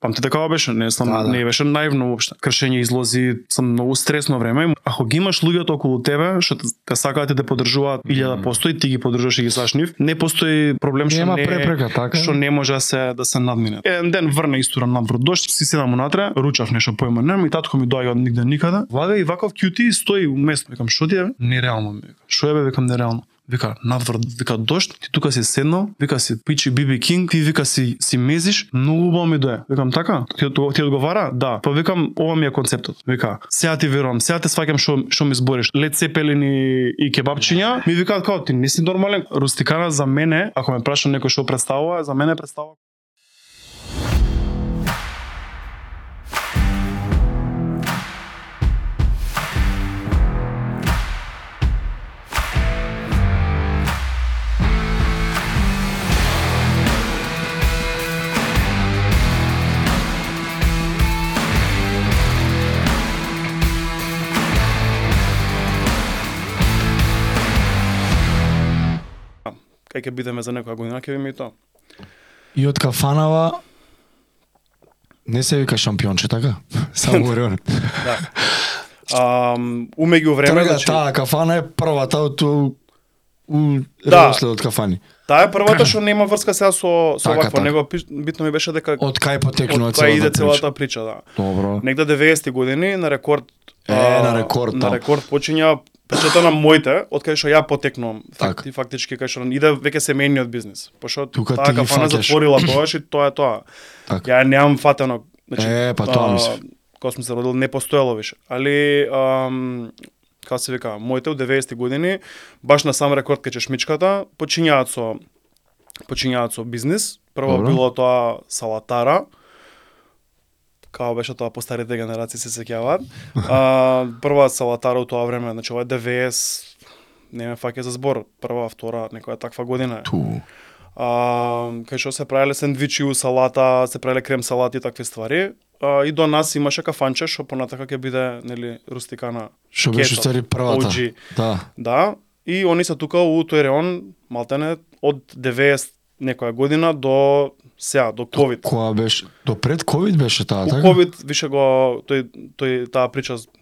Памте така беше, не знам, Да, да, да. да. не беше наивно воопште. Кршење излози сам многу стресно време. Ако ги имаш луѓето околу тебе што те- те сакаат и те подржуваат 1000% и ти ги подржуваш и ги саш нив, не постои проблем што Нема не препрека, така. што не може да се да се надмине. Еден ден врна истурам надвор дошт, си седам унатре, ручав нешто појма нема и татко ми доаѓа од нигде никаде. Влага и ваков кјути стои у место, викам што ти е? бе? Нереално ми вика. Што е бе, викам нереално. Вика, надвор, вика дошт, ти тука си седнал, вика си пичи Биби Кинг, ти вика си си мезиш, многу убаво ми дое. Викам така, ти, од- ти одговара? Да. Па викам, ова ми е концептот. Вика, сега ти верувам, сега те сваќам што што ми збориш. Лед цепелини и кебапчиња, ми викаат како ти не си нормален. Рустикана за мене, ако ме праша некој што представува, за мене представува кај ќе бидеме за некоја година, ќе видиме и тоа. И од кафанава не се вика шампионче, така? Само Орион. Да. А, умеѓу време, Трга значи, Така да, таа кафана е првата од у, у Да. да. од кафани. таа е првата што нема врска сега со со Така, вакво, така. него пи- битно ми беше дека од Од кај потекнува која целата иде прича. целата прича, да. Добро. Негде 90-ти години на рекорд Е, а, на рекорд, на да. рекорд почиња печата на моите, од кај што ја потекнувам. Така. Факти, фактички кај што иде веќе семејниот бизнес. Пошто Тука таа ти ги кафана фаќаш. затворила тогаш и тоа е тоа. Така. Ја немам фатено. Значи, Е, па тоа а, мислев. Кога сум се родил не постоело више. Али ам, како се вика, моите од 90-ти години баш на сам рекорд кај чешмичката почињаат со почињаат со бизнес. Прво Добро. било тоа салатара, као беше тоа по старите генерации се сеќаваат. А, прва салатара у тоа време, значи ова е 90 не ме фаќа за збор, прва, втора, некоја таква година. е. Ту. А, кај што се правеле сендвичи у салата, се правеле крем салати и такви ствари. А, и до нас имаше кафанче што понатака ќе биде нели рустикана. Што беше Кетот, стари првата. OG. Да. Да, и они се тука у тој реон, малтене од 90 некоја година до сега, до ковид. Која беше? До пред ковид беше таа, У така? ковид више го тој тој таа прича з-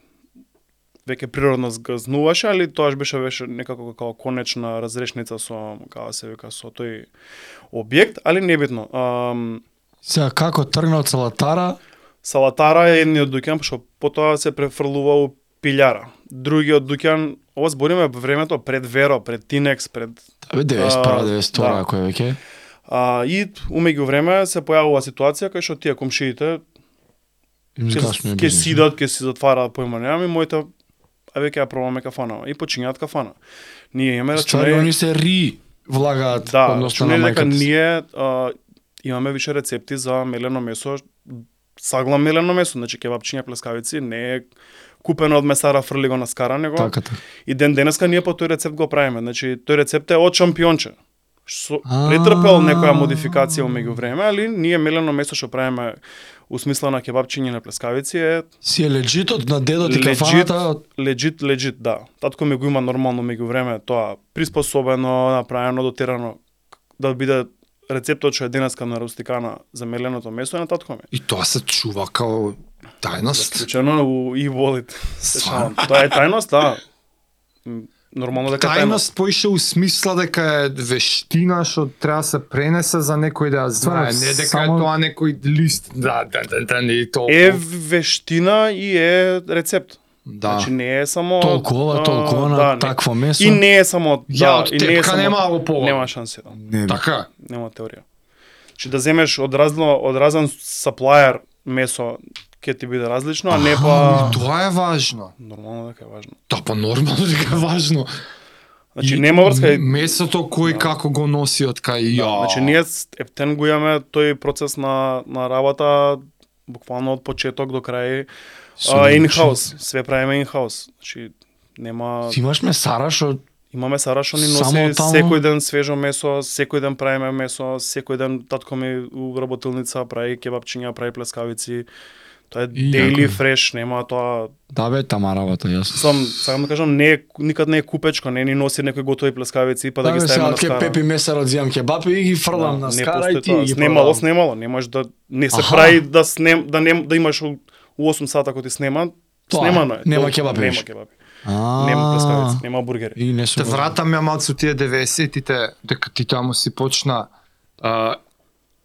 веќе природно згазнуваше, али тоаш беше беше некако како конечна разрешница со како се вика со тој објект, али небитно. Ам, Сега како тргна од салатара? Салатара е едниот дуќан што потоа се префрлува у пилјара. Другиот дуќан, ова збориме времето пред Веро, пред Тинекс, пред Абе 91 да. 92 ако е веќе. а, и умеѓу време се појавува ситуација кај што тие комшиите Им ќе згашно е ќе бизнес. сидат, ќе си затвараат појма немам и моите а веќе ја пробаме кафана и почињаат кафана. Ние имаме да Стари, рачунари они се ри влагаат да, односно на рачунари дека мајката. си. ние а, имаме више рецепти за мелено месо, саглам мелено месо, значи кебапчиња плескавици не е купено од месара фрли го на скара, него Така, така. И ден денеска ние по тој рецепт го правиме. Значи, тој рецепт е од шампионче. Што А. претрпел некоја модификација умеѓу време, али ние мелено месо што правиме у смисла на кебапчиња на плескавици е Си е леджитот на дедот и Леджит. кафаната. легит, легит, да. Татко ми го има нормално меѓу време тоа приспособено, направено, дотерано да биде рецептот што е денеска на рустикана за меленото месо е на татко ми. И тоа се чува као тајност. Случајно у и волит. се шалам. Тоа е тајност, да. М, Нормално дека е тајност. Тајност поише у смисла дека е вештина што треба да се пренесе за некој да ја знае, Стварно, не дека само- е тоа некој лист. Да, да, да, да, не тоа. Е вештина и е рецепт. да. Значи не е само Толкова, а, толкова на не. такво месо. И не е само Ја да, од и не е тепка само нема го повод. Нема шанси да. Не, Така. Нема теорија. Значи да земеш од разно од разен саплаер месо ќе ти биде различно, а не па Ами, Тоа е важно. нормално дека е важно. Тоа па нормално дека е важно. Значи И нема врска и Месото кој како го носи од кај ја. Значи ние с Ептен го имаме тој процес на на работа буквално од почеток до крај а, Сумничен. in-house, све правиме in-house. Значи нема Ти имаш месара што Имаме Сара што ни Само носи таму? секој ден свежо месо, секој ден правиме месо, секој ден татко ми у работилница прави кебапчиња, прави плескавици. Тоа е И daily така. fresh, нема тоа Да бе, тамаравата, јасно. сам сакам да кажам не е, никад не е купечко, не ни носи некои готови плескавици па да, ги бе, ставиме на ке скара. Да, пепи месар одземам кебапи и ги фрлам на не скара постои и ти тоа. ги Снимало, продавам. снимало, не можеш да не се Аха. прави да снем да не да имаш у, у 8 сата кога ти снема, Тоа е. снимано е. Нема Тоа- кебапи Нема више. кебапи. А, Нема плескавици, нема бургери. И не се Те вратам ја малку тие 90-тите, дека ти таму си почна а,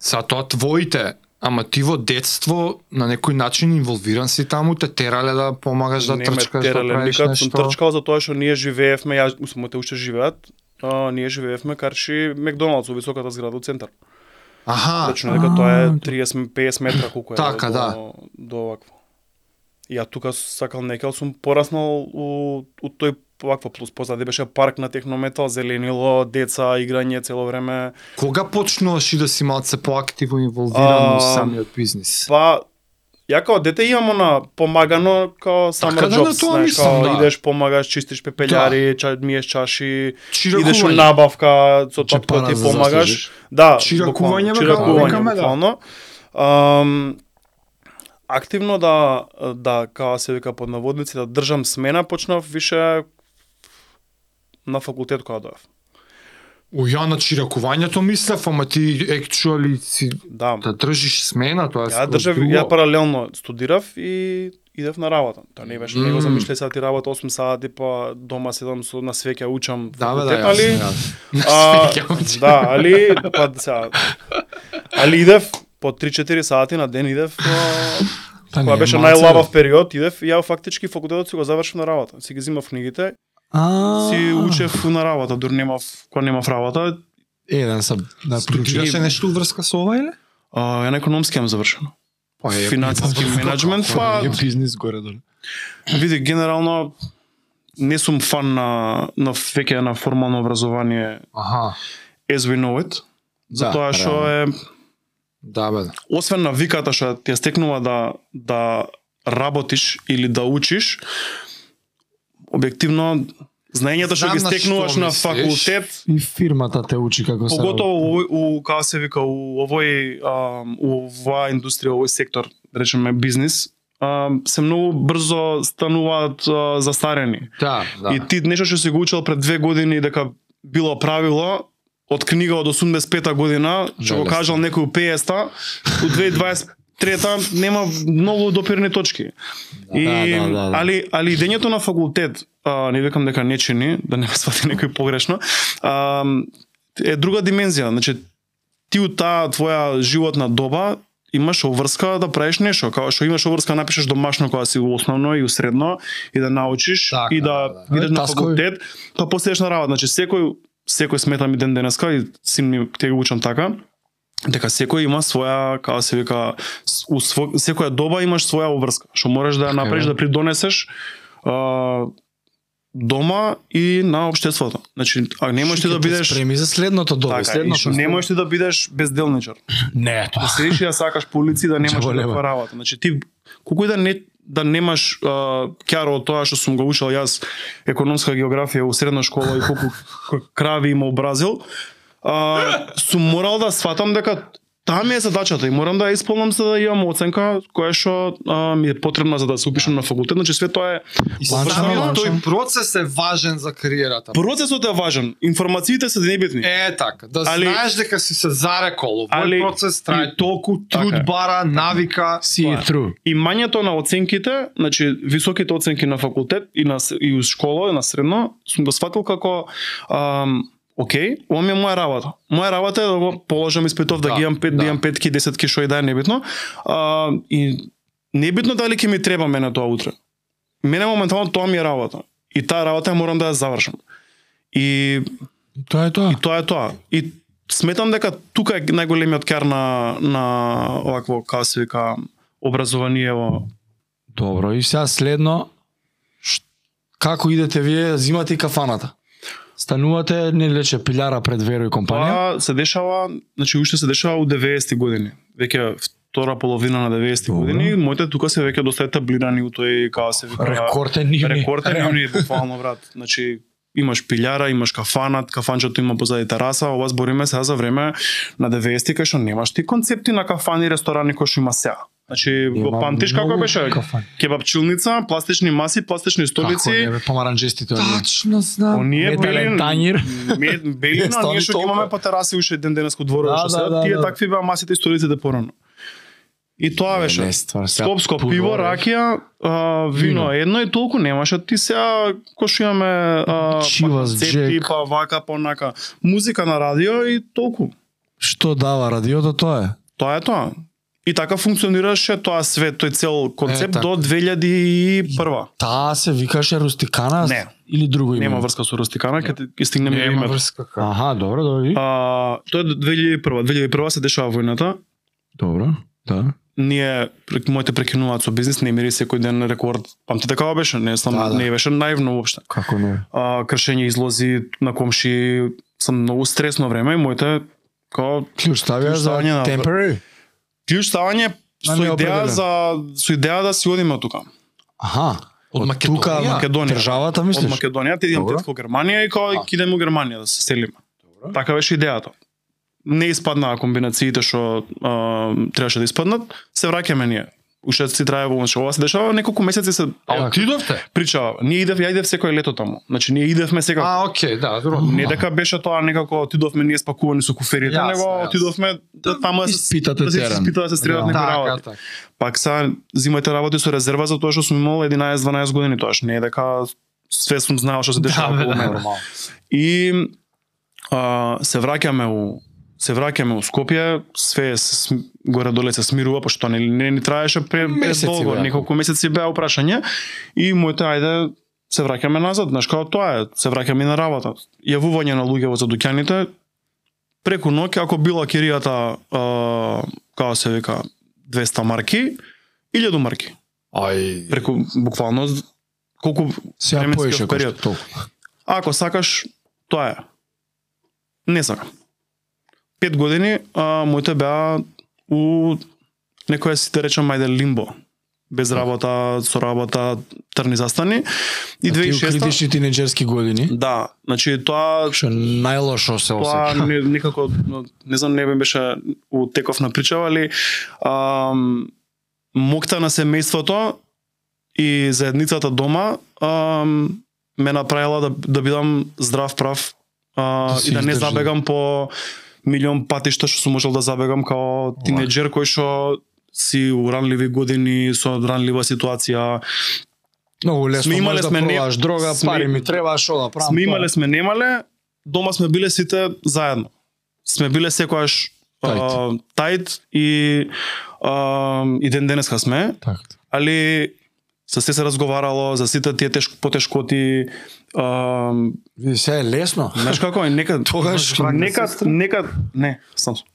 са тоа твоите, ама ти во детство на некој начин инволвиран си таму, те терале да помагаш да не трчкаш, да правиш никад сум нешто. трчкал за тоа што ние живеевме, ја мислам те уште живеат, а, ние живеевме карши Макдоналдс во високата зграда во центар. Аха, Точно дека тоа е 30-50 метра колку е Така, до, да. до овакво. Ја тука сакал некал сум пораснал у, у тој ваква плюс позади беше парк на технометал, зеленило, деца, играње цело време. кога почнуваш и да си малце поактивно инволвиран во А, самиот бизнис? Па ја као дете имам она помагано као summer Така, да, jobs, на тоа знаеш, као мислам, да. идеш помагаш, чистиш пепелјари, ча, миеш чаши, идеш у Чиракување. набавка, со Че тоа кој пара ти за помагаш. заслужиш. Да, Чиракување, буквално, бе, како чиракување, викаме, да. буквално. Ам, активно да да као се вика под наводници да држам смена почнав више на факултет кога дојав. У ја на чиракувањето мислев, ама ти екчуали си Да. да држиш смена, тоа е Ја скроз држав, друго. ја паралелно студирав и идев на работа. Тоа не беше, него Мм. замишле сати работа 8 сати, па дома седам со на свеќа учам. Да, бе, да, факултет, јасно, али, јасно. а, свеќа учам. да, али, па сега, али идев по 3-4 сати на ден идев, а, Па кога не, беше малце, најлабав период, идев, и ја фактички факултетот си го завршив на работа. Си ги зимав книгите, А, си учев на работа, дур немав, кога немав работа, Еден сам да Студираше нешто у врска со ова или? а, ја на економски имам завршено. Па е, Финансиски менеджмент, па бизнис горе доле. Види, генерално не сум фан на на веќе на формално образование Аха. as we know it, затоа што е Да, бе. освен на виката што ти ја стекнува да да работиш или да учиш, објективно знаењето што Знам ги на што стекнуваш на мислиш. факултет, И фирмата те учи како се поготово у, у како се вика у овој ам, у оваа индустрија, овој сектор, да речеме бизнис, ам, се многу брзо стануваат а, застарени. Да, да. И ти нешто што си го учел пред две години дека било правило од книга од 85-та година, што го Желесно. кажал некој у 50-та, у 2023-та нема многу допирни точки. И, да, да, да. Али, али идењето на факултет, а, не викам дека не чини, да не ме свати некој погрешно, а, е друга димензија. Значи, ти у таа твоја животна доба имаш обврска да правиш нешто, како што имаш обврска да напишеш домашно кога си у основно и у средно и да научиш Така, и да, да, да, да. идеш на Таскови. факултет, па после идеш на работа. Значи секој секој смета ми ден денеска и син ми те го учам така дека секој има своја, како се вика, с- у сво, секоја доба имаш своја обврска, што мораш да ја Така е. направиш, да придонесеш а, дома и на општеството. Значи, а не можеш ти да бидеш Преми за следното доле, така, и следното. што не можеш ти да бидеш безделничар. Не, Да тоа. седиш и да сакаш по улици да немаш Чаго лева. никаква работа. Значи ти колку и да не да немаш а, кјаро од тоа што сум го учел јас економска географија у средна школа и колку к- крави има образил, а, сум морал да сватам дека таа ми е задачата и морам да ја исполнам за да имам оценка која што а, ми е потребна за да се упишам на факултет, значи све тоа е И значи. Ланчам, самиот ланчам. тој процес е важен за кариерата. процесот е важен, информациите се небитни. Е, така, да Али- знаеш дека си се зарекол, овој Али- процес трае толку труд Така е. бара, навика, Си е тру. и мањето на оценките, значи високите оценки на факултет и на с- и у школа и на средно, сум го сфатил како ам, Океј, ова ми е моја работа. Моја работа е да го положам испитов, да, Да, ги имам пет, да. да. имам петки, десетки, што и да е небитно. А, и небитно дали ќе ми треба мене тоа утре. Мене моментално тоа ми е работа. И таа работа ја морам да ја завршам. И Тоа е тоа. И тоа е тоа. И сметам дека тука е најголемиот кер на на овакво како се вика образование во Добро, и сега следно ш- како идете вие, зимате и кафаната. Станувате нелече пилјара пред Веро и компанија. Тоа Па, се дешава, значи уште се дешава у 90-ти години. Веќе втора половина на 90-ти Добро. години, моите тука се веќе доста етаблирани у тој како се вика Рекорден нивни. рекорден јуни буквално брат. Значи имаш пилјара, имаш кафанат, кафанчето има позади тераса, ова збориме сега за време на 90-ти кај што немаш ти концепти на кафани и ресторани кои што има сега. Значи го Има памтиш како многу беше? кафани. Кебапчилница, пластични маси, пластични Како столици. не бе, помаранџестите оние. Тачно знам. Оние Метален бели танјир. ме- бели на Стани ние што ги толку. имаме по тераси уште ден денес кod дворот Да, што да, да, се тие да. такви беа масите и столиците порано. И тоа беше. Не, ствар, сега Скопско пудореш. пиво, ракија, а, вино, Вино. едно и толку немаше. Ти сега кој што имаме а, па Чивас, концепти, Джек. па вака, па онака. Музика на радио и толку. Што дава радиото тоа е? Тоа е тоа. И така функционираше тоа свет, тој цел концепт така. до 2001. Таа се викаше Рустикана Не. или друго име? Нема врска со Рустикана, ќе ти- ќе стигнеме и Нема името. врска како. Аха, добро, добро. А... А, тоа е до 2001. 2001 се дешава војната. Добро, да. Ние прек- моите прекинуваат со бизнес, не мири секој ден рекорд. Памтите како беше, не знам, Да, да. не беше наивно воопште. Како не? А, кршење излози на комши сам многу стресно време и моите као Клjuč ставија Клjuč за ставање на- temporary? клjuč ставање со На идеја неопределен. за со идеја да си одиме од тука. Аха. Од Македонија? тука, Македонија. Државата, Од мислиш? Македонија, ти идем Добро. тетко во Германија и као ќе идеме во Германија да се селиме. Добро. Така беше идејата. Не испаднаа комбинациите што а, требаше да испаднат, се враќаме ние. Уште си трае во ова се дешава неколку месеци се А отидовте? причава. Ние идев, ја идев секој лето таму. Значи ние идевме секако. А, окей, да, добро. Не дека беше тоа некако отидовме ние спакувани со куферите, Јасно, него јасно. отидовме да, таму да се Испитате да се терен. испита да се стрелат Да. некои Така, работи. така. Пак са зимајте работи со резерва за тоа што сум имал 11-12 години тоаш. Не е дека све сум знаел што се дешава бе, околу да. мене. И а, се враќаме у се враќаме у Скопје, све е с- горе доле се смирува, пошто не, не ни траеше пре, Месеци долго, беа. неколку месеци беа опрашање и моите ајде се враќаме назад, знаеш како тоа е, се враќаме на работа. Јавување на луѓе во задуќаните преку ноќе ако била киријата а, како се вика 200 марки, 1000 марки. Ај. Преку буквално колку Сега временскиот поеше кој период. што толку. Ако сакаш, тоа е. Не сакам. Пет години, а, моите беа у некоја си да речам мајде лимбо. Без работа, со работа, трни застани. И И 2006 критични тинеџерски години. Да, значи тоа Што најлошо се тоа осеќа. Па, не, некако но, не знам не ми беше у теков на причава, али ам, мокта на семејството и заедницата дома ам, ме направила да да бидам здрав прав а, Да си и да не издржлив. забегам по милион патишта што сум можел да забегам као тинеџер кој што си у ранливи години со ранлива ситуација. Многу лесно Сме имале можеш да сме не- продаваш дрога, сме- пари ми треба, што да правам. Сме тоа. имале сме немале, дома сме биле сите заедно. Сме биле секогаш а, Тајт. тајт и а, и ден денеска сме, Така. али со се се разговарало за сите тие тешко потешкоти а, Види, се е лесно. знаеш како и нека Тогаш нека нека не сам сум.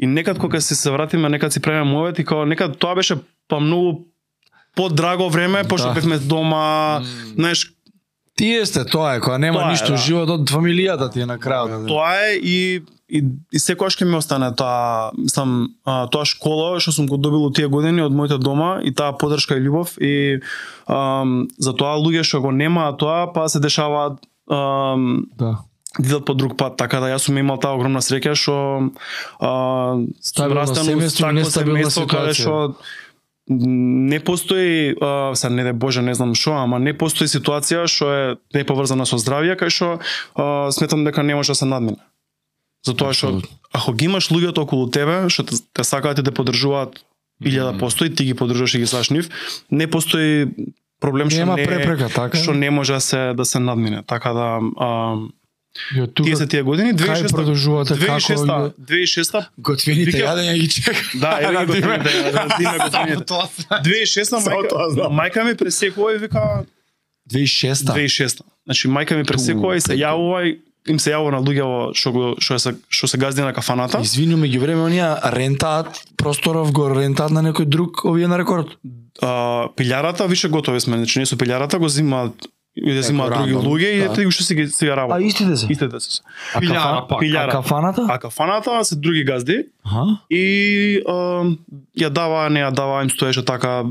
и некад кога се се вратиме некад си правиме мовет и као некад тоа беше па многу по-драго време, пошто Да. бевме дома, знаеш, Тие сте тоа е, кога нема Тоа е, ништо да. животот, фамилијата ти е на крајот. Тоа е и и, и секогаш ќе ми остане тоа, сам а, тоа школа што сум го добил у тие години од моите дома и таа поддршка и љубов и ам, за тоа луѓе што го немаат тоа, па се дешаваат ам, Да. идат по друг пат, така да јас сум имал таа огромна среќа што а, сум Стабилно растен у семејство и такво нестабилна семејство каде ситуација. што не постои, а, са не де Боже, не знам што, ама не постои ситуација што е не поврзана со здравје, кај што а, сметам дека не може да се надмине. Затоа што Апсолутно. ако ги имаш луѓето околу тебе што те, те сакаат и те подржуваат 1000% и ти ги поддржуваш и ги саш нив, не постои проблем што Нема не препрека, така е. што не може да се да се надмине. Така да а, И од тука тие се тие години кај 2006 продолжувате како да- 2006 2006 готвените Вика- јадења ги чека. да е да Радиме. годините 2006 мајка мајка ми пресекува и вика 2006 2006 значи мајка ми пресекува и се јавува и им се јавува на луѓе во што го што се што се газди на кафаната Извини, меѓу време оние рентаат просторов го рентаат на некој друг овие на рекорд. а, пилјарата више готови сме значи не со пилјарата го зимаат и да зимаат други рандом, луѓе и да. дете уште си ги си ја А работа истите се. истите да се А Пилјара, кафа- пак. А пилјара кафаната? а кафаната се други газди Аха. и а, ја дава, не ја дава, им стоеше така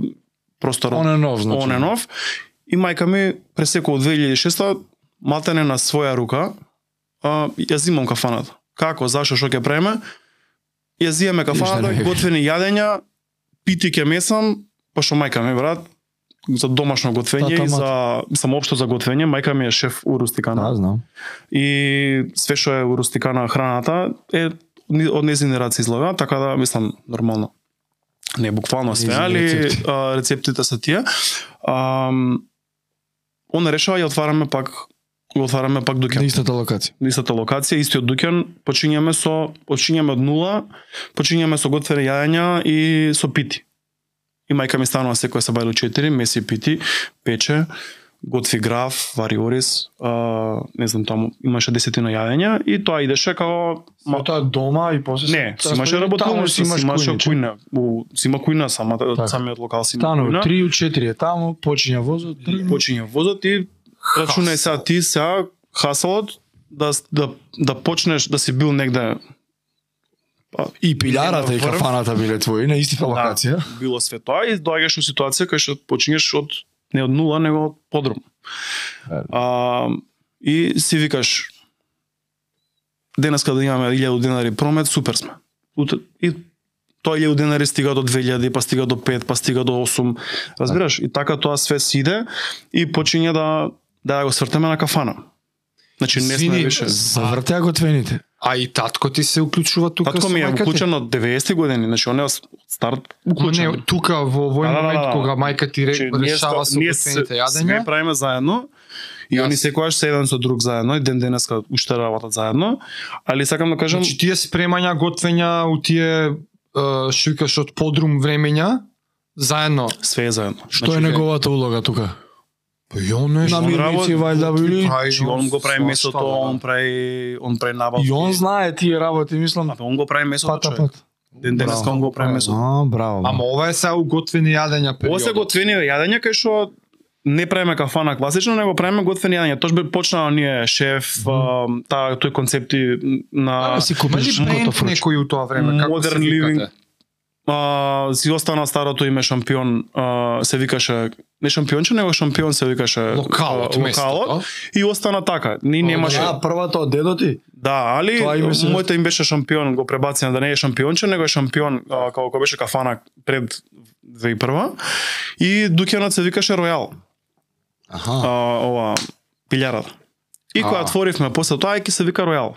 простор Он е нов, значи. он е нов. И мајка ми пресеко од 2006 матене на своја рука, а, ја зимам кафаната. Како, зашто, што ќе преме? Ја зиеме Ништо кафаната, не е. готвени јадења, пити ќе месам, па што мајка ме брат, за домашно готвење Та, и тамата. за само општо за готвење, мајка ми е шеф у Рустикана. Да, знам. И све што е у Рустикана храната е ни- од незини раци излага, така да мислам нормално. Не буквално све, Нејзини али рецепти. а, рецептите се тие. Ам, он решава ја отвараме пак го отвараме пак На дуќан. истата локација. на истата локација, истиот дуќан, почињаме со почињаме од нула, почињаме со готвени јања и со пити. И мајка ми станува секоја сабајло 4, меси пити, пече, готви граф, вари ориз, а, не знам, таму имаше десетина јајања и тоа идеше како Ма Па тоа дома и после Не, си имаше работилница, си имаше кујна, у, си има кујна самата, Така. самиот локал си има Станови кујна. 3 у 4 е таму, почиња возот, тргна. почиња возот и рачунај сега ти сега хасалот да да да почнеш да си бил негде па, и пилярата и Врв. Да. кафаната биле твои на истата локација. било све тоа и доаѓаш во ситуација кај што почињеш од не од нула него од подрум. Верно. А, и си викаш денеска да имаме 1000 денари промет, супер сме. Утре- И тоа 1000 денари стига до 2000, па стига до 5, па стига до 8. Да. Разбираш? И така тоа све си иде и почиња да да ја го свртаме на кафана. Значи не сме Свини, више. Завртеа готвените. А и татко ти се уклучува тука Татко со ми е мајка ти? уклучен од 90 години, значи он е од старт Ама уклучен. не, тука во овој Да, да, да, момент да. кога мајка ти Че, ре- ние решава ста- со ние се- готвените Сме јадења, правиме заедно. И они Јас- секогаш се еден со друг заедно и ден денеска уште работат заедно, али сакам да кажам значи тие спремања, готвења, у тие е, што викаш од подрум времења, заедно. све е заедно. значи, Што е неговата улога тука? Па и он нешто. Намир- Намирници вајда били. прави, Значи, он го прави свашта, месото, да, да. он прави он прави набавки. И он знае тие работи, мислам, Абе, он го прави месото, пата човек. пат. Ден денеска он го Па, прави месото. А, браво. Ама ова е сега уготвени јадења период. Ова се готвени јадења кај што не правиме кафана класично, него правиме готвени јадења. Тоа бе почнаа ние шеф, а, таа тој концепти на Па, Ама си купиш Имаш ли бренд готов руч. некој у тоа време? Како се Modern Living. викате? а, си остана старото име шампион, а, се викаше, не шампионче, него шампион се викаше Локалот, а, местото. и остана така. Ни немаше. А, првата од дедо ти? Да, али да. Тоа име се- моето им беше шампион, го пребација да не е шампионче, него е шампион, а, како кој беше кафана пред 2001 и дуќанот се викаше Ројал. А, Аха. ова пилјарата. И кога А. отворивме после тоа ќе се вика Ројал.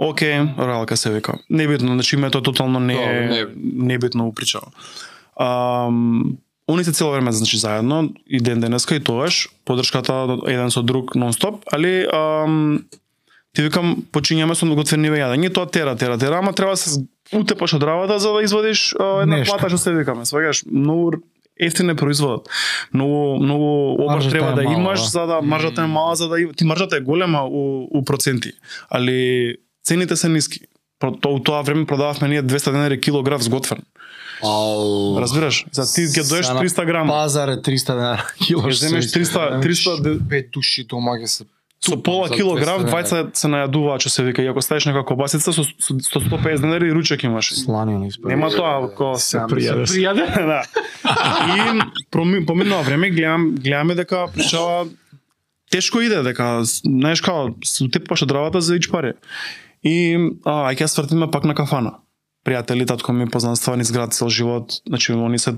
Океј, Ројал ка се вика. Небитно, значи името тотално не Добро, е Да, не- небитно упричава. Ам Они се цело време значи заедно и ден денеска и тогаш поддршката еден со друг нонстоп, али ам, ти викам почињаме со готвениве јадење, тоа тера, тера, тера, ама треба да се утепаш од работа за да извадиш а, една Нешто. плата што се викаме. Сваѓаш многу ефтин е производот. Многу многу обар Маржата треба е да мала, имаш да. за да маржата е мала за да и- ти маржата е голема у, у проценти, али цените се ниски. Про, то, у тоа време продававме ние 200 денари килограф сготвен. Ау. Разбираш? За ти ќе доеш Сана 300 грама. Пазар е 300 денара. Ќе Кило што земеш е. 300 300 де- пет души дома ќе се со пола за килограф 200 денари. двајца се најадуваат што се вика, и ако ставиш нека кобасица со со со 150 денари ручек имаш. Сланина испред. Нема тоа ко Се пријаде. Се пријаде, да. И проми- поминува време гледам гледаме дека причава тешко иде дека знаеш како се утепаш од работа за ич пари. И а ај ќе свртиме пак на кафана. Пријатели, татко ми познанства низ град цел живот, значи они се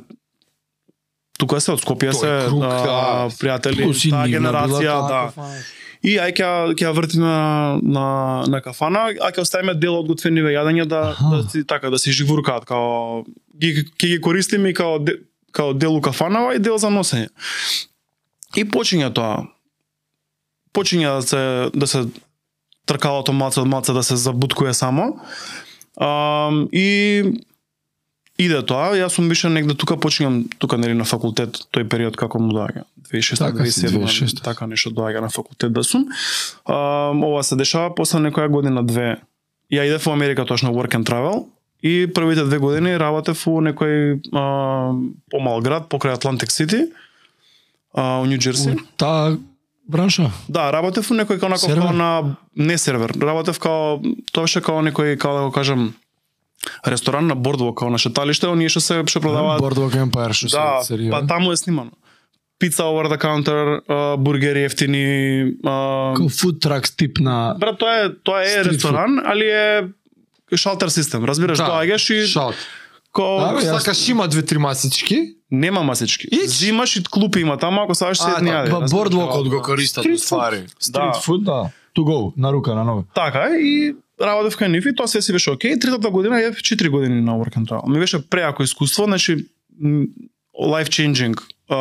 тука се од Скопје Тој се круг, а, да. пријатели, таа генерација, да. така? И ај ќе ќе ја вртиме на, на на кафана, а ќе оставиме дел од готвениве јадења да Аха. да си така да се живуркаат као ги ќе ги користиме и као де- као дел у кафанава и дел за носење. И почиња тоа. Почиња да се да се тркалото маца од маца да се забуткуе само. А, и иде тоа, јас сум беше негде тука почињам тука нели на факултет, тој период како му доаѓа. 2006 Така си, 2007 2006. така нешто доаѓа на факултет да сум. А, ова се дешава после некоја година две. Ја идев во Америка точно work and travel и првите две години работев во некој а, помал град покрај Атлантик Сити, а, у Нью Џерси. Таа бранша. Да, работев у некој како онако Сервер? како на не сервер, работев како тоа беше како некој како да го кажам ресторан на бордво како на шеталиште, оние што се што продаваат Boardwalk Empire што се да, серија. па таму е снимано. Пица over the counter, а, бургери ефтини, а, Како food trucks тип на брат тоа е тоа е Street food. ресторан, али е шалтер систем, разбираш, Да, доаѓаш и шалт. Да, Ко... Ако сакаш има две-три масички, Нема масички. Ич. Зимаш и клупи има таму, ако сакаш се А, да, едни јаде. ба, разбираш? бордлокот го користат, Street у food. ствари. Да. Street food, да. To go, на рука, на нога. Така и работев кај нив и тоа се си беше окей. Третата година е 4 години на work and travel. Ми беше преако искуство, значи м, life changing.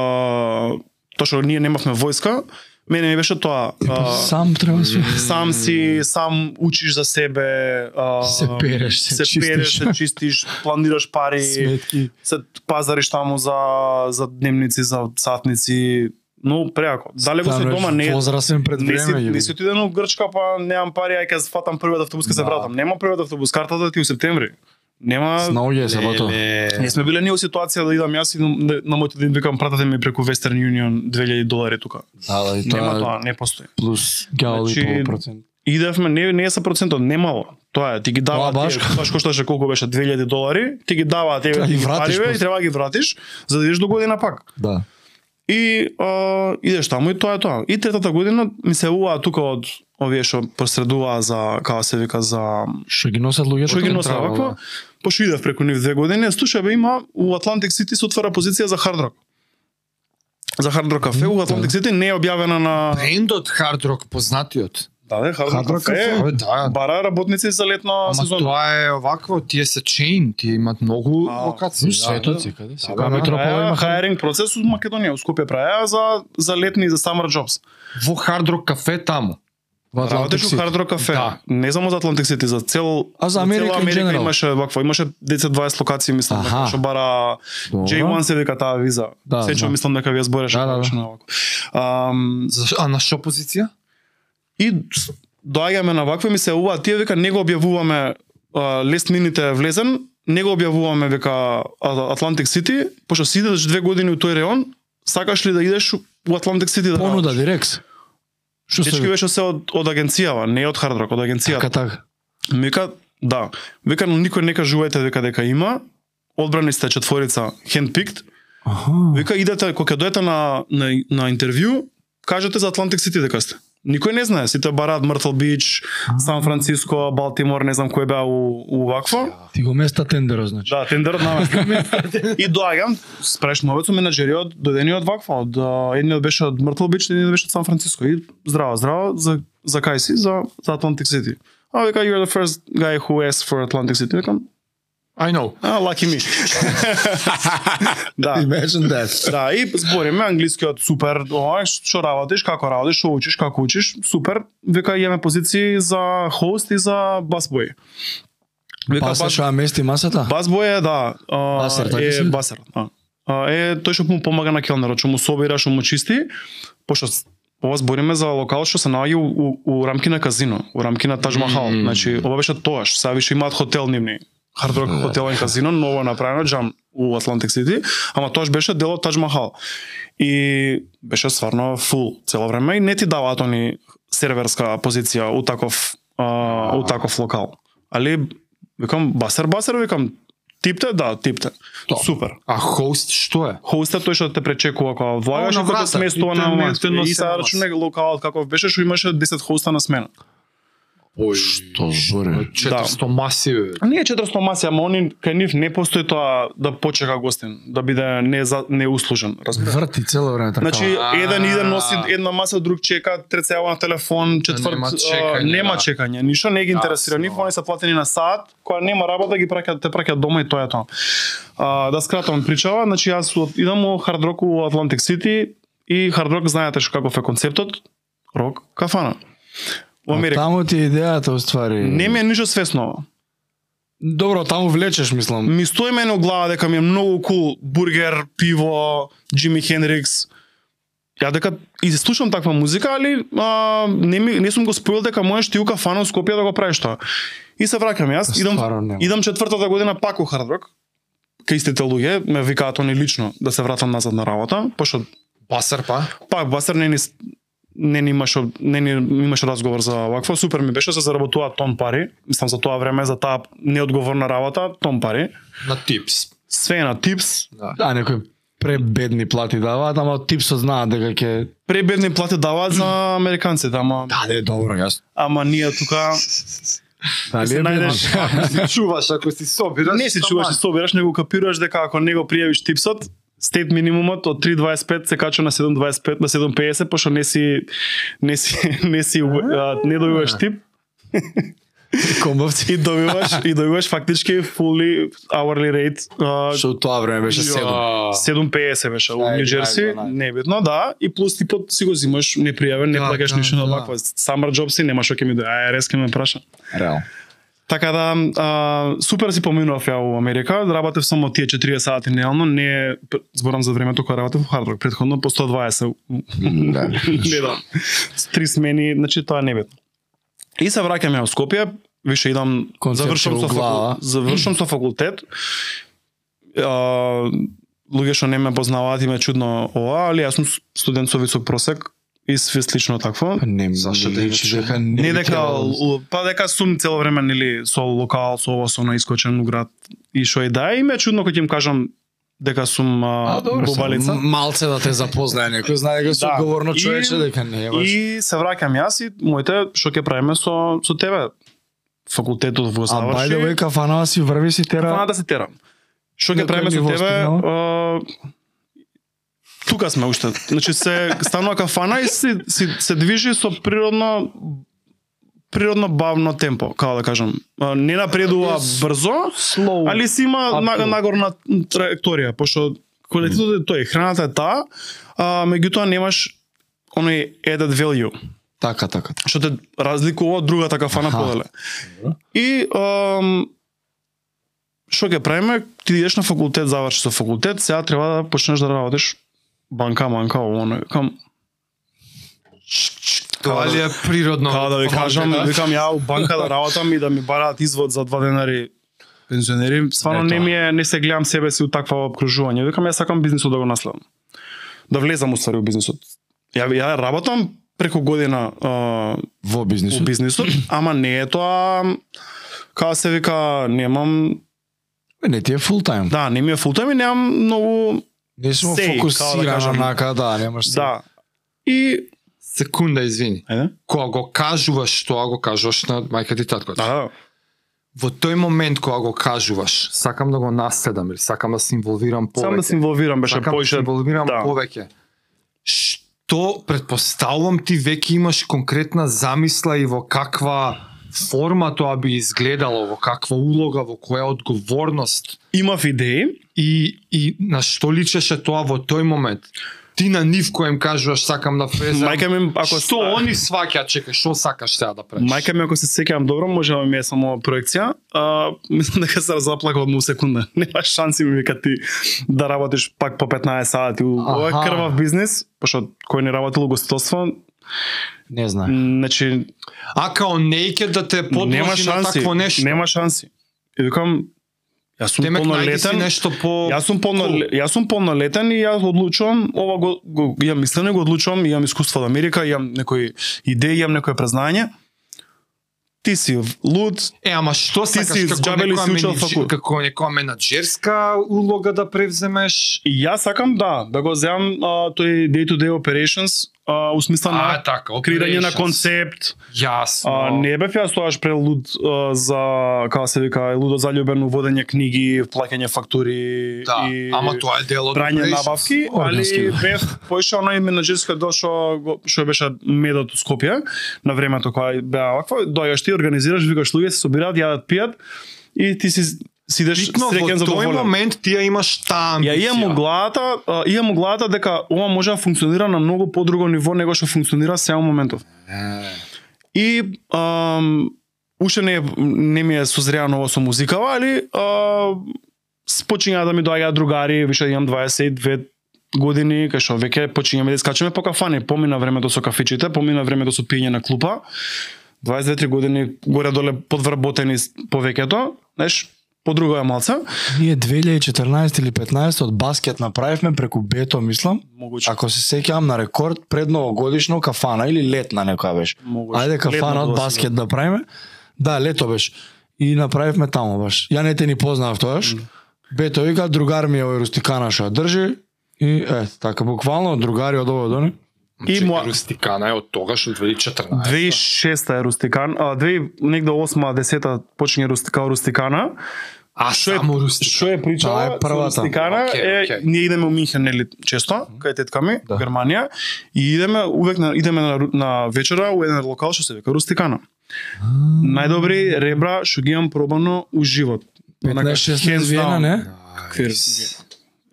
А, тоа што ние немавме војска, мене ми беше тоа а, па Сам треба све. сам си, сам учиш за себе, а, Се переш, се се чистиш. переш, се чистиш, планираш пари, Сметки. се пазариш таму за за дневници, за сатници, но преако. Далеко се Стануваш дома не е Возрасен пред не си, време. не јебе. си отиден у Грчка, па немам пари, ај ке фатам првиот автобус ке се Да. вратам. Нема првиот автобус, картата ти у септември. Нема Снаоѓе се бато. Не сме биле ние во ситуација да идам јас и на, на мојот ден викам пратате ме преку Western Union 2000 долари тука. Да, да, и Нема тоа тоа, не постои. плюс гал и Значи, пол процент. Идевме, не, не е са процентот, немало. Тоа е, ти ги даваат, Тоа баш, баш. баш кошташе колку беше 2000 долари, ти ги даваат, еве Да, ти ги ги вратиш париве и после. треба да ги вратиш за да идеш до година пак. Да. И а, идеш таму и тоа е тоа. И третата година ми се јавува тука од овие што посредуваа за како се вика за Што ги носат луѓето? што ги кон носат трава, вакво. Пошто идев преку нив две години, слушај бе има у Atlantic City се отвара позиција за Hard Rock. За Hard Rock кафе у Atlantic City не е објавена на Брендот Hard Rock познатиот. Да, да, Hard Rock кафе. Абе, да. Бара работници за летна Ама сезона. тоа е овакво, тие се чейн, тие имат многу А, локации. Ну, да. светот си, каде си? Да, Кога да, да. метропола Праја има хайринг процес у Македонија, у Скопје праја за за летни и за summer jobs. Во Hard Rock кафе таму. во Атлантик Работеш у Сити. Hard Rock кафе. Да. Не само за Atlantic City, за цел А за цела Америка in general? имаше вакво, имаше 10-20 локации мислам Аха. дека што бара Добро. J1 се вика таа виза. Да, Сечо знам. мислам дека вие збореше Да, да, да. повеќе на вако. Ам, За- А на што позиција? и с- доаѓаме на вакво и ми се ува, тие вика не го објавуваме лест мините влезен, не го објавуваме века Atlantic City, пошто си идеш две години у тој реон, сакаш ли да идеш у Atlantic City да Понуда работиш? дирекс. Што се Дечки вика? беше се од, од агенцијава, не од Hard Rock, од агенцијата. Така така. Ми вика, да. Вика, но никој не кажувајте дека дека има. Одбрани сте четворица handpicked. Аха. Вика, идете, кога дојдете на, на, на интервју, кажете за Атлантик Сити дека сте. Никој не знае, сите барат Мртл Бич, Сан Франциско, Балтимор, не знам кој беа у, у вакво. Ти го места тендерот значи. Да, тендерот наместник. и доаѓам, спреш новецо менеджериот, дојдениот вакво, од а, едниот беше од Мртл Бич, едниот беше од Сан Франциско. И здраво, здраво, за, за кај си, за, за Atlantic City. А вика, you're the first guy who asked for Atlantic City. Викам, I know. а, lucky me. да. Imagine that. Да, и збориме англискиот супер, ова, што работиш, како работиш, што учиш, како учиш, супер. Вика, имаме позиции за хост и за басбој. Вика, Па бас- се шоа мести масата? Басбој е, да. А, Басер, така е, се? басер, да. А, е, тој што му помага на келнерот, што му собира, што му чисти, пошто с- ова збориме за локал што се наоѓа у, у, у рамки на казино, у рамки на Тадж Махал. Мм. Значи, ова беше тоа што сега више имаат хотел нивни. Hard Rock хотелен казино, ново направено джам у Атлантик Сити, ама тоа беше дел од Тадж Махал. И беше стварно фул цело време и не ти даваат они серверска позиција у таков а, у таков локал. Али викам басер басер викам типте да типте. Тоа. Супер. А хост што е? Хоста тој што те пречекува кога влагаш О, и кој на те врата. сместува И те на не- мас. те И носи на сега мас. рачуне локалот каков беше што имаше 10 хоста на смена. Ој, Што Да. зборе? 400 маси. бе. А Ние 400 маси, ама они кај нив не постои тоа да почека гостин, да биде не за не услужен, разбираш? Врти цело време така. Значи А. еден иден носи една маса, друг чека, трет се јава на телефон, четврт нема а, чекање, нема да. чекање, ништо не ги интересира, нив Јасно. они се платени на саат, која нема работа ги праќаат, те праќаат дома и тоа е тоа. А, да скратам причава, значи јас од- идам у Hard Rock у Atlantic City и Hard Rock знаете што каков е концептот? Рок кафана. Во А Америка. Таму ти е идејата уствари. Не ми е ништо свесно. ова. Добро, таму влечеш мислам. Ми стои мене у глава дека ми е многу кул бургер, пиво, Джими Хендрикс. Ја дека и слушам таква музика, али а, не, ми, не сум го споил дека можеш ти ука фано Скопје да го правиш тоа. И се враќам јас, идам Па, Стварно нема. идам четвртата година пак у Hard Rock. Кај истите луѓе ме викаат они лично да се вратам назад на работа, пошто Басар па? пак Басар не ни не ни имаше не ни имаше разговор за вакво, супер ми беше да се заработува тон пари, мислам за тоа време за таа неодговорна работа, тон пари На типс. све е на типс, Да. Да, некој пребедни плати даваат, ама типсо знаат дека ќе пребедни плате даваат за американците, ама Да, да, добро, јас. ама ние тука Дали се најдеш, Ако се чуваш, ако си собираш... не се чуваш и собираш, него капираш дека ако него пријавиш типсот, стейт минимумот од 3.25 се качува на 7.25 на 7.50, пошто не си не си не си а, не добиваш тип комбовци. и добиваш и добиваш фактички fully hourly rate а, Што тоа време беше 7. 7.50 беше во Ајде, Нью Џерси, ајде, ајде. небитно, да, и плюс ти пот си го зимаш непријавен, не Да, плаќаш да, ништо на да. ваква. Summer job си немаш што ќе ми дојде, ARS ќе ме праша. Реал. Така да, а, супер си поминував ја во Америка, работев само тие 40 сати неално, не п- зборам за времето кога работев во Хардрок, предходно по 120 Да. не да. С Три смени, значи тоа е небитно. И се враќам ја во Скопје, више идам, Концепција завршам со, у глава. факултет, завршам со факултет. А, луѓе што не ме познаваат и ме чудно ова, али јас сум студент со висок просек и све слично такво. Па Не, Зашто не да личи не- дека Не би дека, требало да- л- па дека сум цело време нели со локал, со ова, со на искочен у град и што и да, и ме чудно кога ќе им кажам дека сум а, А, добро, бубалица. само малце да те запознае некој, знае дека си Да. одговорно И- човече дека не е баш. И се враќам јас и моите што ќе правиме со со тебе факултетот во А by the way, заврши. кафанава си врви си Фана тера. да се терам. Што На ќе кој правиме со ниво тебе? стигнал? а, Тука сме уште. Значи се станува кафана и се се, се движи со природно природно бавно темпо, како да кажам. А, Не напредува брзо, Слоу. Али си има Апсолутно. на, нагорна траекторија, пошто квалитетот е тој, храната е таа, а меѓутоа немаш оној added value, Така, така. што те разликува од другата кафана Аха. поделе. И ам, што ќе правиме? Ти идеш на факултет, заврши со факултет, сега треба да почнеш да работиш банка, манка, ово, оно. Кам, Тоа ли е природно? Као да ви кажам, Да. викам ја у банка да работам и да ми бараат извод за два денари пензионери, стварно Ето. не ми е, не се гледам себе си у таква обкружување. Викам ја сакам бизнисот да го наследам. Да влезам у ствари у бизнисот. Ја ја работам преку година а, Во у бизнисот. бизнисот, ама не е тоа како се вика, немам, Не ти е фул тајм. да, не ми е фултайм и немам многу, Не сум Сей, као да фокусиран кажам. онака, да, немаш се. да. И, Секунда, извини. ајде, Кога го кажуваш тоа, го кажуваш на мајка ти татко. да, да, Во тој момент кога го кажуваш, сакам да го наследам или сакам да се инволвирам повеќе. сам да се инволвирам, беше сакам да се поише, инволвирам да. повеќе. Што предпоставувам ти веќе имаш конкретна замисла и во каква форма тоа би изгледало, во каква улога, во која одговорност имав идеи, и и на што личеше тоа во тој момент? Ти на нив кој им кажуваш сакам да влезам. мајка ми, ако... што они сваќаат, чека, што сакаш сега да правиш? Мајка ми, ако се сеќавам добро, може да ми е само проекција. А, мислам дека се заплака од му секунда. Нема шанси ми вика ти да работиш пак по 15 сати. Ова е Аха. крвав бизнес, пошто кој не работил гостителство, Не знам. значи а као неќе да те нема подложи на шанси. такво нешто. Нема шанси. И викам јас сум Демек најди си полнолетен. нешто по Јас сум полно Cool. јас сум полнолетен и јас одлучувам, ова го, го имам мислене, го одлучувам, имам искуство од Америка, имам некои идеи, имам некое признање. Ти си луд, Е, ама што Ти сакаш си како изџабели некоја си учел менеџер- факултет. како некоја менаџерска улога да превземеш? И Јас сакам да, да го земам а, тој day to day operations а, у смисла А, на така, Па, креирање на operations. концепт. Јасно. А, не бев јас тогаш прелуд а, за како се вика, лудо заљубен у водење книги, плаќање фактури да, и ама тоа е дел од прање operations. набавки, Органски, али да. бев поише оној менаџерски дел што го- што беше медот у Скопје на времето кога беа вакво, доаѓаш ти организираш, викаш луѓе се собираат, јадат, пијат и ти си си идеш Битно среќен во тој задоволен. момент ти ја имаш таа амбиција. Ја имам у главата, а, имам у главата дека ова може да функционира на многу подруго ниво него што функционира сега во моментов. И ам, уште не, е- не ми е созреано ново со музикава, али а, спочинја да ми доаѓаат другари, више имам 22 години, кај што веќе почињаме да скачаме по кафани, помина времето со кафичите, помина времето со пиење на клупа. 22-3 години горе-доле подвработени с- повеќето, знаеш, подруга е малце. Ние 2014 или 15 од баскет направивме преку Бето, мислам. Могуќе. Значи, Ако се сеќавам на рекорд пред новогодишно кафана или летна некоја беше. Могуќе. Ајде кафана Летното од да се баскет да правиме. Да, лето беше. И направивме таму баш. Ја не те ни познав тогаш. Бето вика, другар ми е овој рустикана што ја држи. И е, така буквално другари од овој до оној. И Чекай, моја- Рустикана е од тогаш од 2014. да. 2006 е Рустикан, а 2 негде 8 10 почне Рустикал Рустикана. А Шо е- само Рустикана. Што е причала Таа Да, е првата. со Рустикана Океј, е океј. ние идеме во Мюнхен нели често, кај тетка ми, Да. Германија, и идеме увек на идеме на, ру- на вечера у еден локал што се вика Рустикана. Најдобри ребра што ги имам пробано у живот. Онака, 15-16 hands down. Виена, не? Квир.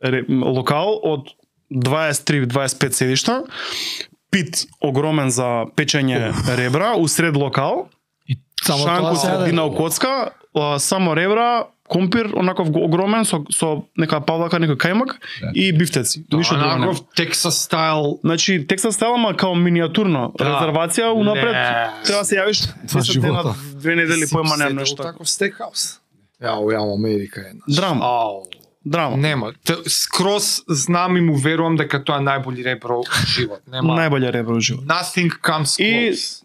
Ре- м, локал од 23-25 седишта, пит огромен за печење ребра, усред локал, И само шанко тоа се среди јаде. на коцка, а, само ребра, компир онаков го- огромен со со нека павлака, некој кајмак Да. и бифтеци. Ништо друго нема. Тексас стайл Значи, текстот става ма као минијатурно. Да. Резервација унапред. Не. Треба да се јавиш 10 дена, живота. две недели појма седел така. нема нешто. Таков стекхаус. Јао, јао, Америка една. Драма, Ау. драма. Нема. Те- Скрос знам и му верувам дека тоа е најболи ребро во живот. Нема. Најболја ребра во живот. Nothing comes И- close.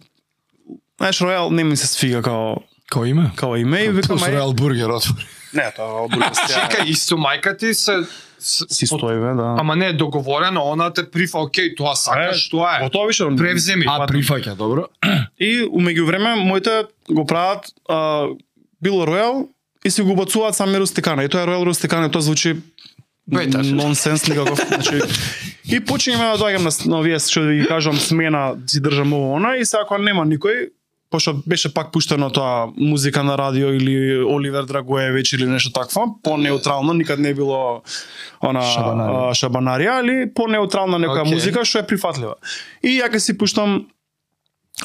Знаеш, Ројал не ми се сфига као Кој име? као име и викам Плюс ај. Ројал Бургер отвори. Не, тоа е бургер. Чека, и со мајка ти се... с- Си стоиве, да. Ама не е договорено, она те прифа, окей, тоа сакаш, тоа е. Во тоа више Превземи. А прифаќа, добро. И умеѓу време моите го прават а, било Ројал и си го бацуваат сами Рустикана. И тоа е Ројал Рустикана, и тоа звучи Беташ. нонсенс никаков. Значи, и почнеме да доаѓам на, с- на овие што ви кажам смена, си држам ово она и се ако нема никој, пошто беше пак пуштено тоа музика на радио или Оливер Драгоевич или нешто такво, по-неутрално, никад не е било она шабанарија, Шабанарија. шабанарија али по-неутрална некоја Океј. okay. музика што е прифатлива. И ја ке си пуштам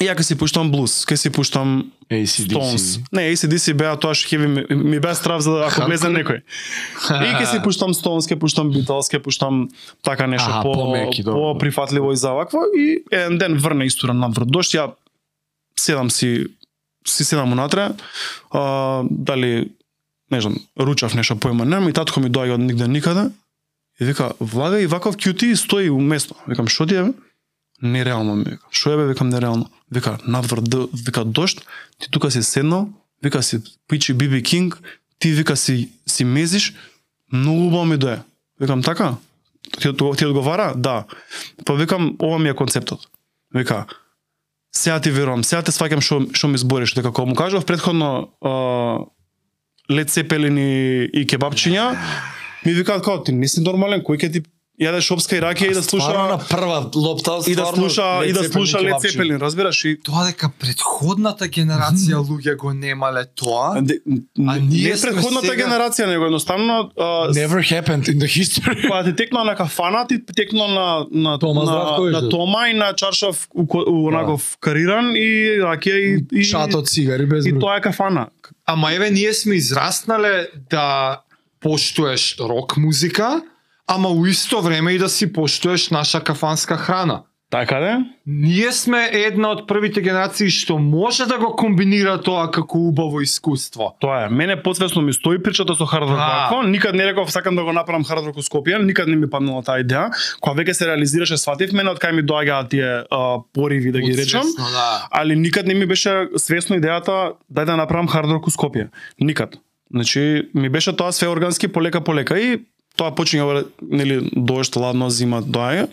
и ја ке си пуштам блуз, ке си пуштам Stones. ACDC. Не, ACDC беа тоа што ќе ви ми- ми беа страв за да ако Како? влезе некој. И ќе си пуштам Stones, ќе пуштам Beatles, ќе пуштам така нешто Аха, по помеки, добро. по прифатливо и за вакво и еден ден врна истуран на врдош, ја седам си си седам унатре, а, дали не знам, ручав нешто појма нема и татко ми доаѓа од нигде никаде и вика Владе и ваков кјути стои у место. Викам што ти е? бе?» Нереално ми вика. Што е бе? Викам нереално. Вика надвор д- вика дошт, ти тука си седнал, вика си пичи Биби Кинг, ти вика си си мезиш, многу убаво ми дое. Викам така? Ти, од- ти одговара? Да. Па викам ова ми е концептот. Вика сега ти верувам, сега те сваќам што што ми збориш, дека кога му кажав претходно а, Лед Сепелин и, и кебапчиња, ми викаат како ти не си нормален, кој ќе ти јадеш опска и ракија и да Стварно слуша на прва лопта, и да стварно, слуша Led и да Zeppelin слуша Лед кебапчи. Сепелин, разбираш и Тоа дека предходната генерација луѓе го немале тоа. Де- А ние не сме предходната сега- генерација, него едноставно а, с- Never happened in the history. Па ти текна на кафана, ти текна на на Тома на, Здравковиќ, на бе. Тома и на чаршав у, ко- у онаков кариран и ракија и и Шат од цигари без и број. тоа е кафана. Ама еве ние сме израснале да поштуеш рок музика, ама у исто време и да си поштуеш наша кафанска храна. Така де? Ние сме една од првите генерации што може да го комбинира тоа како убаво искуство. Тоа е. Мене подсвесно ми стои причата со хардрок Да. вакво. Никад не реков сакам да го направам хардрок у Скопје, никад не ми паднала таа идеја. Кога веќе се реализираше сватив мене од кај ми доаѓаа тие а, пориви да ги речам. Подсвесно, Да. Али никад не ми беше свесно идејата дај да направам хардрок у Скопје. Никад. Значи ми беше тоа све органски полека полека и тоа почиња нели дожд, ладно, зима доаѓа.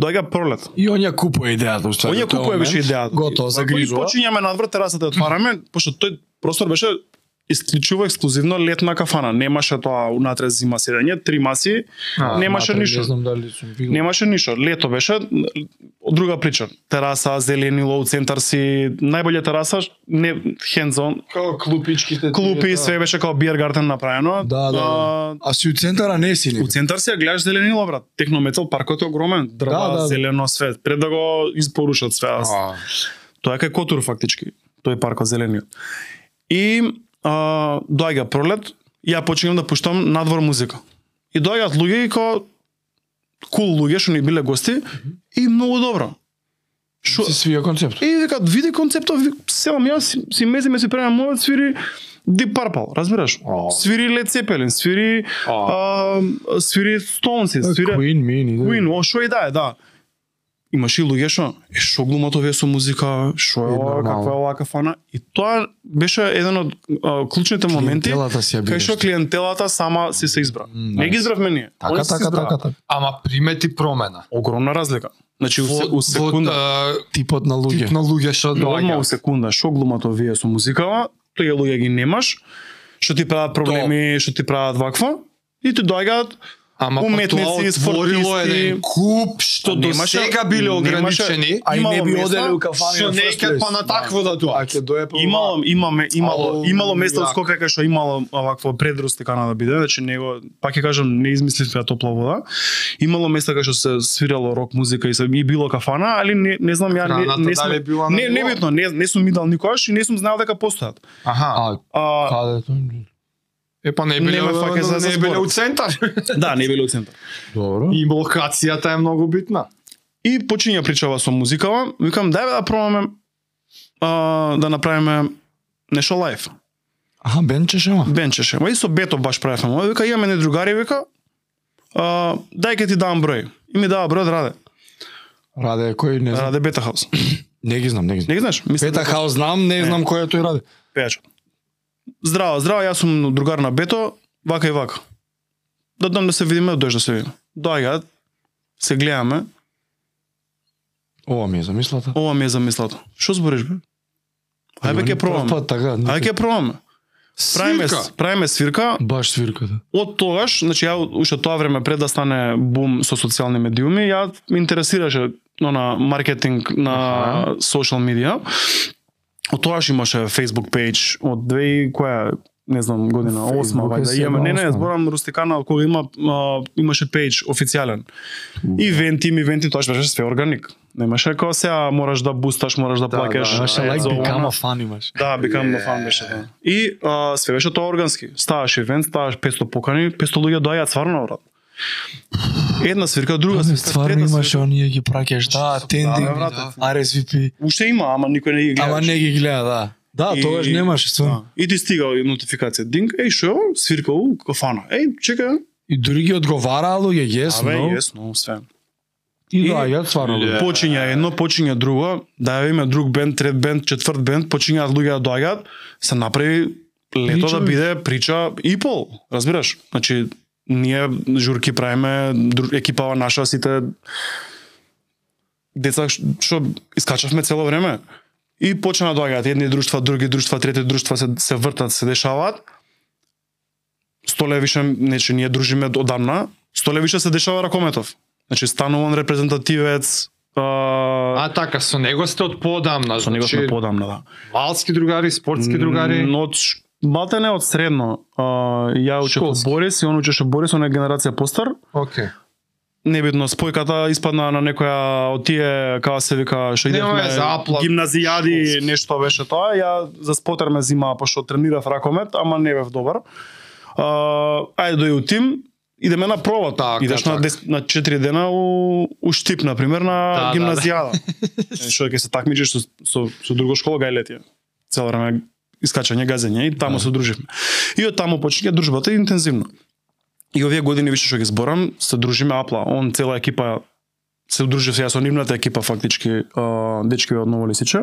Доаѓа пролет. И он ја купува идејата, уствари. Тој ја купува беше идејата. Па, Готово, И загрижува. почињаме надвор терасата ја отвараме, пошто тој простор беше исклучува ексклузивно летна кафана. Немаше тоа унатре зима седење, три маси, А, немаше Не ништо. знам дали сум видел. Немаше ништо. Лето беше друга прича. Тераса, зеленило, центар си, најболја тераса, не hands on, Како клупичките. да. клупи, све беше као биер гарден направено. Да, да, да. А, А си у центара не си ли? У центар си ја гледаш зеленило, брат. Технометал паркот е огромен, дрва, Да, да, да. зелено све. Пред да го испорушат све. Аз. А, Тоа е кај Котур фактички, тој паркот зелениот. И а, доаѓа пролет, и ја почнувам да пуштам надвор музика. И доаѓаат луѓе и ко кул луѓе што ни биле гости и многу добро. Шо, Се свија концепт. и вика, види концептот, ви- селам јас си, си мези ме си премам мовет, свири Deep Purple, разбираш? О. Свири Led Zeppelin, свири О. а, свири Stones, свири Queen, мини. Queen, о, шо и да е, да. имаше и луѓе што е што глуматове со музика, што е Е, ова, нормално. каква е оваа кафана и тоа беше еден од а, клучните моменти Клиентелата си ја кај бидеш. што клиентелата сама си се избра. да М, Не ги избравме ние. Така, Они се така, избраа. така, така. Ама примети промена. Огромна разлика. Значи у, се- у секунда, Во, Типот на а, луѓе. тип на луѓе што одма у доаѓа. секунда, што глуматовие со музикава, тој луѓе ги немаш, што ти прават проблеми, што ти прават ваква, и ти доаѓаат Ама па тоа уметници, отворило спортисти. еден куп што А до немаше- сега биле немаше- ограничени. а и не би оделе у Што не ќе па на такво да А доаѓа. ќе дое па Имало, имаме, имало, Ало, имало место од јако. Скопје кај што имало овакво предрост така на да биде, значи него пак ќе кажам не измислите ја топла вода. Имало места кај што се свирало рок музика и се и било кафана, али не, не знам ја Храната не, не дали била на не, ниво? небитно, не, не сум идал никогаш и не сум знаел дека постојат. Аха. А, А, каде тоа? па, Е па не биле Нема фака за не збор. биле у центар. да, не било центар. Добро. И локацијата е многу битна. И почиња причава со музикава, викам дај бе да пробаме а, да направиме нешто лайф. Аха, бенчеш ама. бенчеше. Ма и со Бето баш правевме. Ма вика имаме не другари вика. А, дај ке ти дам број. И ми дава број од Раде. Раде е кој не знам. Раде Бета Хаус. Не ги знам, не ги знам. Не ги знаеш? Мислам Пета хаос знам, не знам кој е тој раде. пејач. Здраво, здраво, јас сум другар на Бето, вака и вака. Да дам да се видиме, дојш да се видиме. Доаѓаат, се гледаме, Ова ми е замислата. ова ми е замислато. Што збориш бе? Ајде ќе пробаме. Па така, не- Ајде ќе пробаме. Правиме, Свирка. правиме свирка, баш свирката. од тогаш, значи ја уште тоа време пред да стане бум со социјални медиуми, ја ме интересираше на маркетинг на социјал медија. Од тогаш имаше Facebook пејдж од две и која не знам година, Facebook осма е вајде. сега Имаме, не, не, осма. зборам Рустикана, од кога има а, имаше пејдж официјален. Ивенти, им ивенти, тоа беше све органик. Немаше како сега мораш да бусташ, мораш да, плакеш. да, Имаше е, лайк за ова, бикама она. фан имаш. Да, Become the Fan беше да. И а, све беше тоа органски. Ставаш ивент, ставаш 500 покани, 500 луѓе доаѓаат стварно брат. Една свирка, друга свирка, Стварно трета имаше свирка. оние ги праќаш, да, тендинг, Да, брате. RSVP, Уште има, ама никој не ги гледа. ама не ги гледа, да. Да, И- тогаш немаше Да. стварно. И ти стига и нотификација. Динг, еј, што е ово? Свирка у кафана. Еј, чека. И дури ги одговараа луѓе, yes, Абе, no. јесно, све. И И- да, ја стварно. луѓе. Е. Почиња едно, почиња друго, да име друг бенд, трет бенд, четврт бенд, почињаат луѓе да доаѓаат, се направи лето Прича, да бе. биде прича и пол, разбираш? Значи, ние журки правиме, дру- екипава наша, сите деца ш- што искачавме цело време. И почна да доаѓаат едни друштва, други друштва, трети друштва се, се вртат, се дешаваат. Столе више, нече, ние дружиме одамна, столе више се дешава Ракометов. Значи, стануван репрезентативец, а, А така, со него сте од подамна. со него сме значи, подамна, да. Малски другари, спортски другари. М, Од ш- Балтене од средно, а, ја учев Школски. Борис и он учеше Борис, он е генерација постар. Океј. Небитно, спојката испадна на некоја од тие, као се вика, што Нема идевме е за аплат. гимназијади, нешто беше тоа. Ја за спотер ме зима, пошто тренирав ракомет, ама не бев добар. А, ајде дој у тим, идеме на проба. Така, Идеш на, така. 10 на 4 дена у, у Штип, например, на Да, да, гимназијада. Е, Што ќе се такмичиш со, со, со друго школа, гај летија. Цело време искачање, газење и таму Да. се друживме. И од таму почнеја дружбата интензивно. И овие години више што ги зборам, се дружиме апла. Он цела екипа се дружи сега со нивната екипа фактички, а, дечки од Ново Лисиче.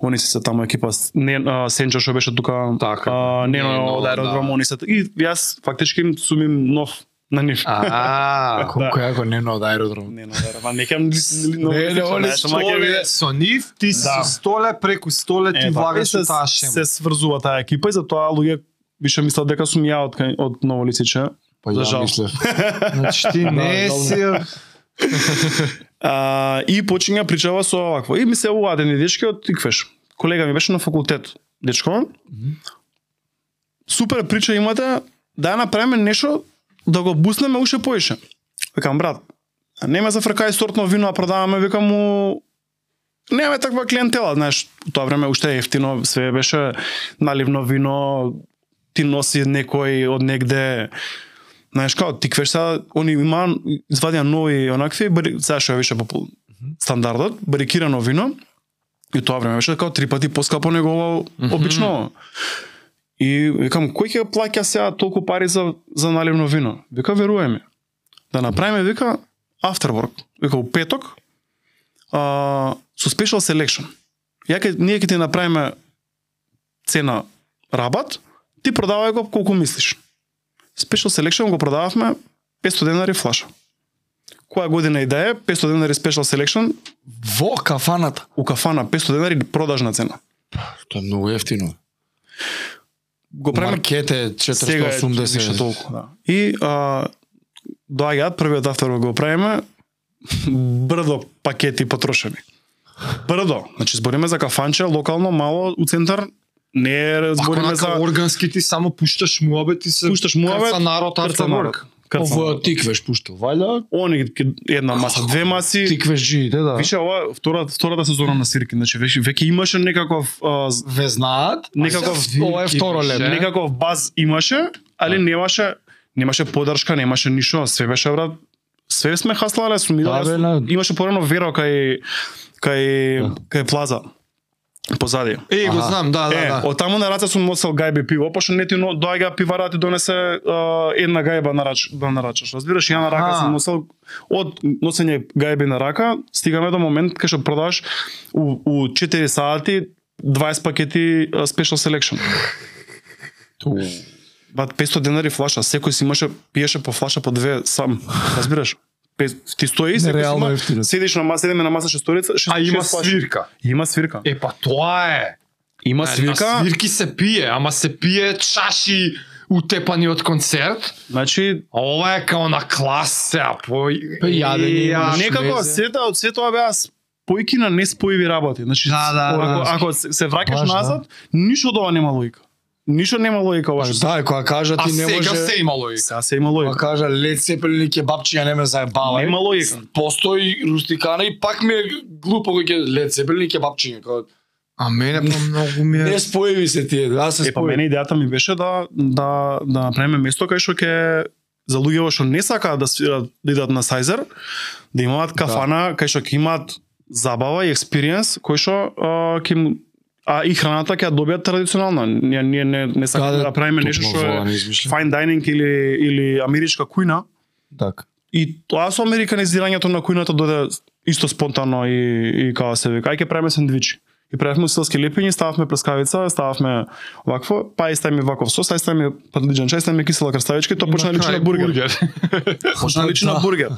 Они се се таму екипа с- не а, Сенчо што беше тука, Така. а, Нено Нено, од аеродром, да. они се и јас фактички им сумим нов на нив. Аа, Ако која го не на од аеродром. Не, не, не, не, кем Не, не, оле, Столе, со нив ти си Да. столе преку столе ти Е, така, влагаш се, у таа се шема. сврзува таа екипа и затоа луѓе више мислат дека сум ја од, кај- од Ново Лисиче. Па За ја жал. мислев. Значи Да, ти не добро. си Така, А, и почиња причава со овакво. И ми се уа еден дечки од Тиквеш. Колега ми беше на факултет. Дечко, супер прича имате, да ја направиме нешто да го буснеме уште поише. Викам, брат, а не ме зафркај сортно вино, а продаваме, викам му, немаме таква клиентела, знаеш, у тоа време уште ефтино, све беше наливно вино, ти носи некој од негде, знаеш, као, ти квеш сега, они имаа, извадија нови онакви, бри- сега што е више попул, стандардот, барикирано вино, и у тоа време беше као три пати поскапо него ова обично. И викам, кој ќе плаќа сега толку пари за, за наливно вино? Вика, веруеме. Да направиме, вика, afterwork. Вика, у петок, а, со special selection. Ја ке, ние ќе ти направиме цена рабат, ти продавај го колку мислиш. Special selection го продававме 500 денари флаша. Која година и да е, 500 денари special selection, Во кафаната. у кафана 500 денари продажна цена. Тоа е многу ефтино. Го правиме Маркет е сега е 480. више толку, да. И а, доаѓаат првиот автор го правиме брдо пакети потрошени. Брдо, значи збориме за кафанче локално мало у центар, не е Ако збориме нака за органски ти само пушташ муабет и се така, пушташ муаве, крца народ, крца крца народ. морк. Овој Па тиквеш пуштил, вајда? Они ке- една маса, две маси. Тиквеш жиите, да. Више ова втората втората сезона на Сирки, значи веќе веќе имаше некаков а, з- Ве знаат, некаков ова е второ имаше. лет. Е. некаков баз имаше, али немаше немаше поддршка, немаше ништо, све беше брат све сме хаслале, сум Да, бе, идале, на- имаше порано вера кај кај Да. кај плаза позади. Е, го Аха. знам, да, да, е, да. од таму на раца сум носел гајби пиво, пошто не ти но- доаѓа пивара да ти донесе а, една гајба на рач, да нарачаш. Разбираш, ја на рака Аха. сум носел од носење гајби на рака, стигаме до момент кај што продаваш у, у 4 сати 20 пакети а, special selection. Ту. Бат 500 денари флаша, секој си имаше пиеше по флаша по две сам, разбираш? Пе- Ти стои секој си Нереално има, ефтино. седиш на маса, седиме на маса шесторица, шест, А има шест флаши. свирка. Има свирка. Е, па тоа е. Има Е, свирка. На свирки се пие, ама се пие чаши утепани од концерт. Значи А ова е као на клас сега, по... Па јадене, Ја- Аш, Некако мезе. сета од се тоа беа спојки на неспојиви работи. Значи, Да, да, ако, да. ако се, се враќаш Баш, да. назад, ништо од ова нема логика. Ништо нема логика ова Баш што. да, и кога кажа А ти не сега може... се има логика. Сега се има Кога логика. Па кажа Лед Сепелин и кебапчи, ја не ме заебава. Нема логика. Постои рустикана и пак ми е глупо кој ќе Лед Сепелин и кебапчи. Кога... А мене па многу ми Не споеви се тие, аз се Е, па споеви. мене идејата ми беше да да да направиме место кај што ќе за луѓето што не сакаат да свират да идат на Сайзер, да имаат кафана кај што ќе имаат забава и експириенс кој што а, ќе им- а и храната ќе ја добијат традиционална. Ние ние не не сакаме да правиме нешто што е fine dining или или америчка кујна Така. и тоа со американизирањето на кујната дојде исто спонтано и и како се вика ај ќе правиме сендвичи и правевме уселски лепења, стававме прескавица, стававме вакво, па и ставиме ваков сос, ај ставиме падлиџан чај, ставиме кисела краставичка, и тоа почна да личи на бургер. Почна да личи на Да. бургер.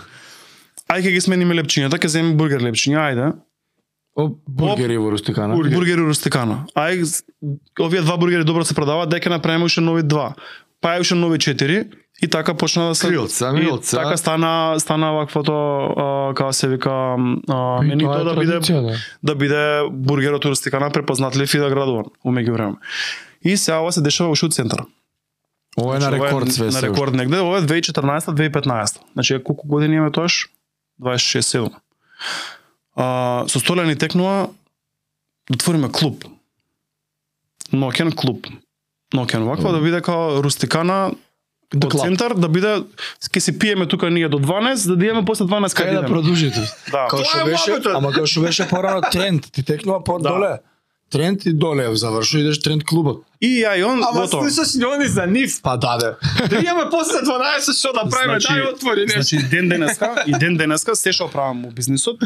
Ај ќе ги смениме лепчињата, ќе земеме бургер лепчиња, ајде. О, бургери во рустикана. Бургер. бургери рустикана. Ај з- овие два бургери добро се продаваат, дека направиме уште нови два. Па е уште нови четири и така почна да се Крилца, И милца. Така стана стана ваквото а, како се вика а, менито да биде да биде бургерот у рустикана препознатлив и да градуван у меѓувреме. И сега ова се дешава уште у центар. Ова е на Значи, ова е рекорд све. На се рекорд негде, ова е 2014-2015. Значи колку години имаме тоаш? 26-7. А, со Столе ни текнува да отвориме клуб. Нокен клуб. Нокен ваква да биде као рустикана The од club. центар да биде ќе се пиеме тука ние до 12, да диеме после 12 Кај да идеме. продолжите? Да. Као Тоа што е беше, мабето. ама као што беше порано тренд, ти текнува по Да. доле. Тренд и доле, завршува идеш тренд клубот. И ја и он готово. Па, слушаш ли они за нив? Па да, бе. Да имаме после 12 што да правиме, Значи- дај отвори нешто. Значи ден денеска и ден денеска се што правам во бизнисот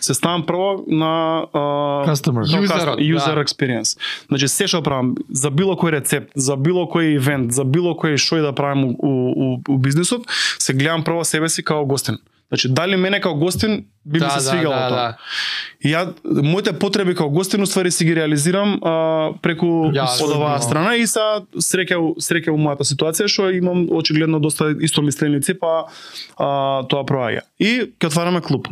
се ставам прво на а, Customer. на User, cust- user да. experience. Значи се што правам за било кој рецепт, за било кој ивент, за било кој што и да правам у, у, у, у бизнисот, се гледам прво себе си као гостин. Значи дали мене као гостин би ми Да, се да, свигало да, тоа. да. И Ја моите потреби као гостин уствари си ги реализирам а, преку Ја, од оваа да. страна и са среќа у- среќа у мојата ситуација што имам очигледно доста истомисленици па а, тоа проаѓа. И ќе отвараме клуб.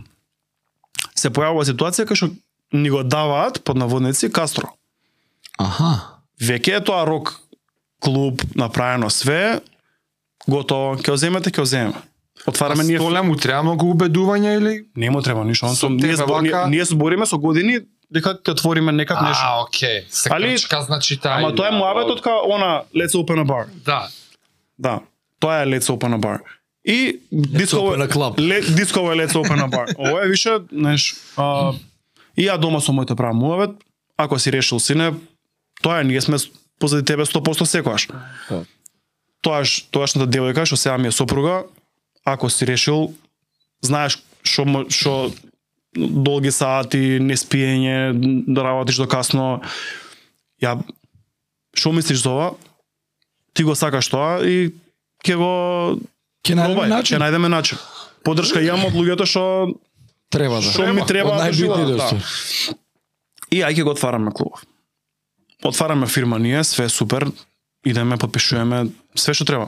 Се појавува ситуација кај што ни го даваат под наводници Кастро. Аха. Веќе е тоа рок клуб направено све, готово, ќе го земете, ќе го земеме. Отвараме ние Столе му треба многу убедување или? не му треба ништо, он Со со ние тебе збор, ние, вака? ние збориме со години дека ќе отвориме некад нешто. А, окей. Се Али- крчка, значи таа. Ама тоа е идеја, муабетот као она Let's open a bar. Да. Да. Тоа е Let's open a bar. И дисково open a club. Ле, дисково е Let's open a bar. Ова е више, знаеш, а, и ја дома со моите правам муабет, ако си решил сине, тоа е, ние сме позади тебе 100% секојаш. Да. Тоаш, тоашната девојка што сега ми е сопруга, ако си решил, знаеш што мо- што долги сати, неспиење, да работиш до касно. Ја што мислиш за ова? Ти го сакаш тоа и ќе го Ќе пробај, најдеме начин. Ќе најдеме начин. Поддршка имам од луѓето што Треба да. Што ми треба Од да најбитни живеам, да. доста. и ај ќе го отвараме клубов. Отвараме фирма ние, све е супер, идеме, подпишуваме све што треба.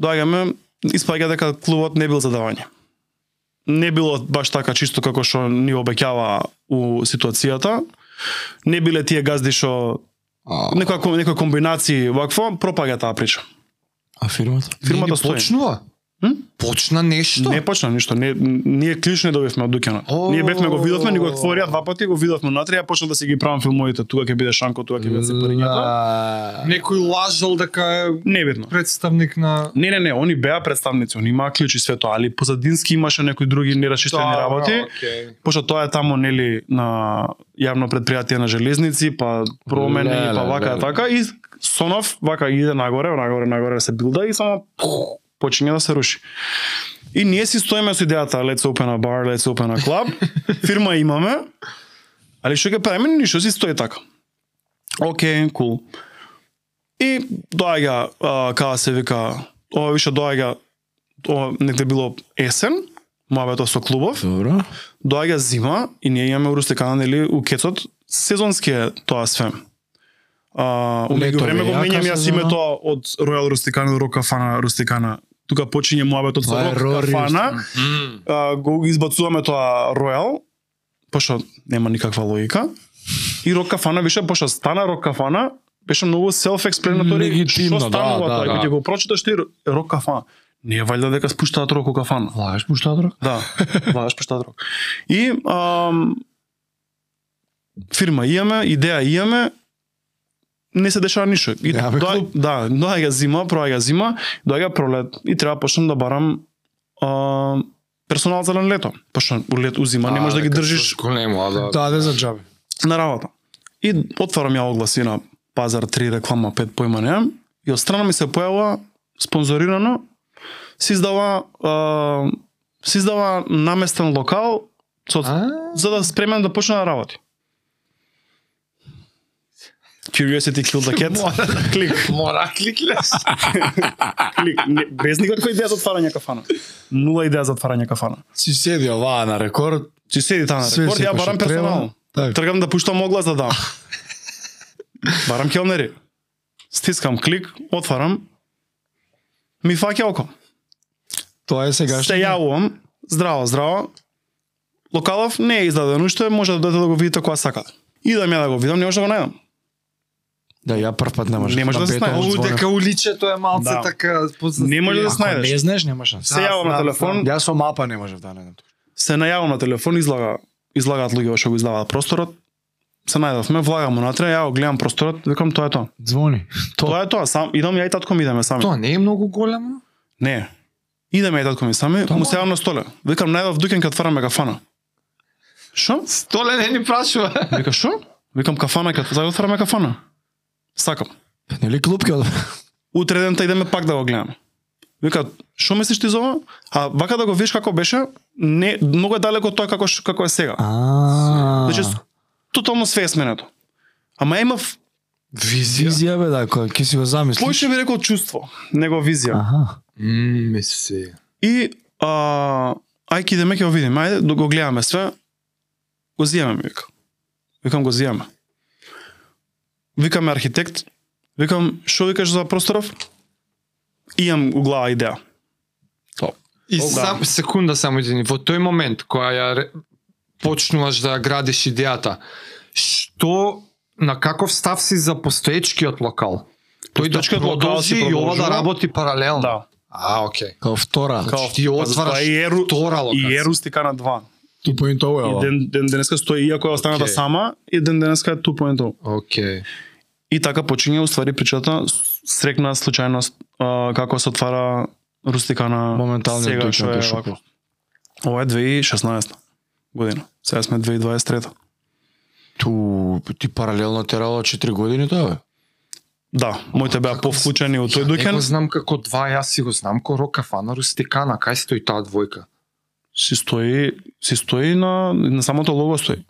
Доаѓаме, испаѓа дека клубот не бил за давање. Не било баш така чисто како што ни обеќава у ситуацијата. Не биле тие газди што А, некоја некоја комбинација вакво пропаѓа таа прича. а фирмата? Фирмата Не ни стои. почнува. М? Почна нешто. Не почна ништо, не ние клиш не добивме од дуќанот. Ние бевме го видовме, ни го отворија два пати, го видовме натре, ја почна да си ги правам филмовите, тука ќе биде Шанко, тука ќе биде се парињата. Не. Некој лажал дека е Небитно. представник на Не, не, не, они беа представници, они имаа клич и све тоа, али позадински имаше некои други нерашистени Да, работи. браво, окей. Пошто тоа е тамо нели на јавно предпријатие на железници, па промени, Леле, па вака леле. така и Сонов вака иде нагоре, нагоре, нагоре се билда и само пух, почиња да се руши. И ние си стоиме со идејата let's open a bar, let's open a club. Фирма имаме. Али што ќе правиме ништо си стои така. Океј, кул. Cool. И доаѓа, а, каа се вика, ова више доаѓа, ова негде било есен, муабето со клубов, Добро. доаѓа зима и ние имаме урустекана, нели, у кецот, сезонски е тоа све. А, у Лето, меѓувреме го јака менјам јас сезона. името од Royal Rusticana до Rock Cafana Rusticana. Тука почиња муабетот со Тоа е Rock Rory Cafana М. а, го избацуваме тоа Royal, пошто нема никаква логика. И Рок Кафана више, пошто стана Рок Кафана, беше многу self-explanatory. Легитимно, Што станува да, да, тоа? да. Кога ќе го прочиташ ти Рок Кафана. Не е валјда дека спуштаат Рок Кафана. Лагаш му што друг? Да, влагаш пешта друг. И ам, фирма имаме, идеја имаме, не се дешава ништо. И Немаме доа, клуб. да, доаѓа зима, проаѓа зима, доаѓа пролет и треба почнам да барам а, персонал за на лето. Пошто у лет у зима не можеш да ги дека држиш тоа Големо, да. Да, не за джаби. на работа. И отварам ја огласи на пазар 3 реклама 5 појма немам и од страна ми се појава спонзорирано се издава а, се издава наместен локал со, А? за да спремен да почне да работи. Curiosity killed the cat. Клик, Мора кликлеш. клик. Не, без никаква идеја да за отварање кафана. Нула идеја за отварање кафана. Си седи оваа на рекорд. Ти седи таа на Све рекорд, ја секој барам што треба. персонално. Така. Тргам да пуштам оглас да дам. Барам келнери. Стискам клик, отварам. Ми фаќа око. Тоа е Се сегашно. јавувам. Здраво, здраво. Локалов не е издаден уште, може да дојдете да го видите кога сакате. Идам ја да го видам, не може да го најдам. Да, ја прв пат не можеш. Не може На да се петом знае. Ову звонам. дека Така уличето е малце Да. така Не може да позастијано. се знаеш. Не знаеш, не можеш. Се јавам на телефон, Јас со мапа не можев да најдам. се најавам на телефон, излага, излагаат луѓе што го излагаат просторот. Се најдовме, влагам му натре, ја го гледам просторот, викам тоа е тоа. Звони. Тоа е тоа, сам идам ја и татко ми идеме сами. Тоа не е многу големо. Не. Идеме и татко ми сами, Тоа му мора. сејам на столе. Викам, најдов дуќен кад фараме кафана. Шо? Столе не ни прашува. Вика, шо? Викам, кафана, кад зајде отвараме кафана. Сакам. Нели клуб ќе од Утре дента идеме пак да го гледаме. Вика, шо мислиш ти за ова? А вака да го видиш како беше, не, многу е далеко од тоа како, ш- како е сега. А. Значи, с- тотално све е сменето. Ама имав, Визија. визија бе да, кој ќе си го замислиш. повеќе би рекол чувство, него визија. Аха. Ме се. И а, ај ки идеме ќе го видиме, ајде да го гледаме све. Го зиеме ми вика. Викам го зиеме. Викаме архитект. Викам што викаш за просторов? Имам у глава идеја. Топ. И О, да. сам секунда само едини во тој момент кога ја ре- почнуваш да ја градиш идејата. Што на каков став си за постоечкиот локал? Тој да Постоечкиот локал продолжи си и ова да продолжува? работи паралелно. Да. А, окей. Као втора. Као- Ти ја па затоа отвараш и еру- втора И локација. Еру стикана 2. Ту поинт ова. И ден, ден денеска стои иако е останата Океј. сама и ден денеска е 2.0. Океј. И така почиња уствари причата с- срекна случајност а, како се отвара рустикана Моментално сега дуќан што е кој шо вака. Ова е 2016 година. Сега сме 2023. Ту ти паралелно терало 4 години тоа бе. Да, моите беа повклучени од тој Не го дуќен. знам како два, јас си го знам ко Рока Фанару Стекана, кај стои таа двојка? си стои, си стои на, на самото лого стои.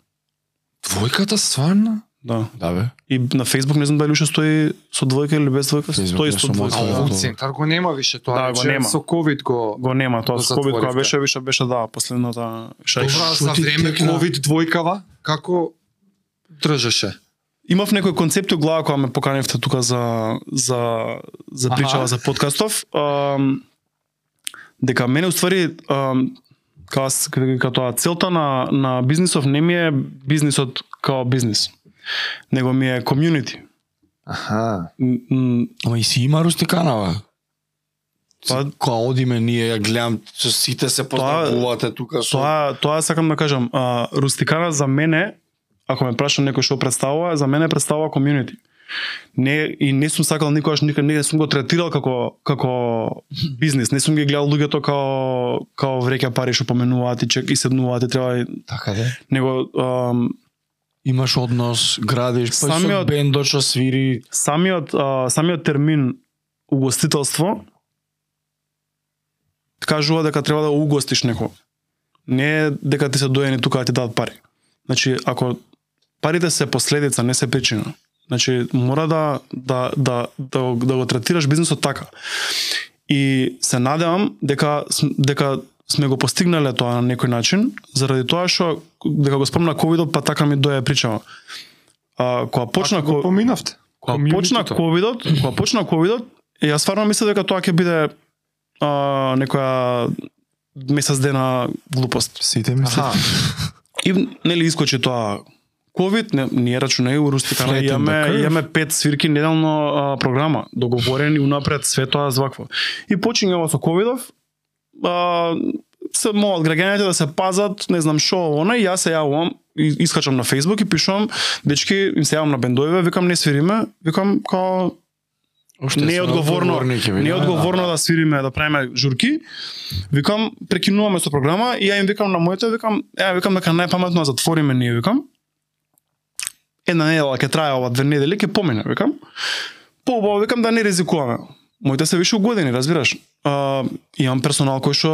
Двојката стварно? Да. Да бе. И на Facebook не знам дали уште стои со двојка или без двојка, Facebook стои е со со А мојата. двојка. овој да. центар го нема више Да, тоа. го рече, нема. Со ковид го Го нема, тоа со COVID која Затворивте. беше, више беше да, последната шајка. Добра, шо за ти време текна? ковид двојкава, како држеше? Имав некој концепти у глава кога ме поканивте тука за за за Аха. причава за подкастов. Ам, дека мене уствари ам, као, с- к- като целта на на бизнисов не ми е бизнисот као бизнис, него ми е комјунити. Аха. М, м, Ама и си има рустиканава. Па- Па... Кога одиме ние, ја гледам, со сите се поздравувате тука со... Тоа тоа сакам да кажам, а, рустикана за мене, ако ме праша некој што представува, за мене представува комјунити. Не и не сум сакал никогаш никад не сум го третирал како како бизнис, не сум ги гледал луѓето како како вреќа пари што поменуваат и чек и седнуваат и треба Така де. него ам, Имаш однос, градиш, па Самиот... Самиот- со бендот што свири. самиот а, самиот термин угостителство кажува дека треба да угостиш некого. Не е дека ти се доени тука да ти дадат пари. Значи ако парите се последица, не се причина. Значи мора да да да да, го- да го третираш бизнисот така. И се надевам дека см- дека сме го постигнале тоа на некој начин, заради тоа што дека го спомна ковидот, па така ми дое причава. А кога почна Почна ко- го поминавте. Кога почна ковидот, кога почна ковидот, ја стварно мислев дека тоа ќе биде а, некоја месец дена глупост. Сите Аха. И нели искочи тоа ковид, не, ние рачунај у Рустикана Flatten the имаме curve. имаме пет свирки неделно а, програма, договорени унапред све тоа звакво. И починга ова со ковидов, а, се молат граѓаните да се пазат, не знам што она, и јас се јавувам, и- искачам на Facebook и пишувам, дечки, им се јавам на бендове, викам не свириме, викам као не е одговорно, не е одговорно да свириме, да правиме журки. Викам, прекинуваме со програма и ја им викам на моите, викам, ја викам дека најпаметно да затвориме ние, викам. Една недела ќе трае ова две недели, ќе помине, викам. Поубаво викам да не ризикуваме. Моите се више угодени, разбираш. А, имам персонал кој што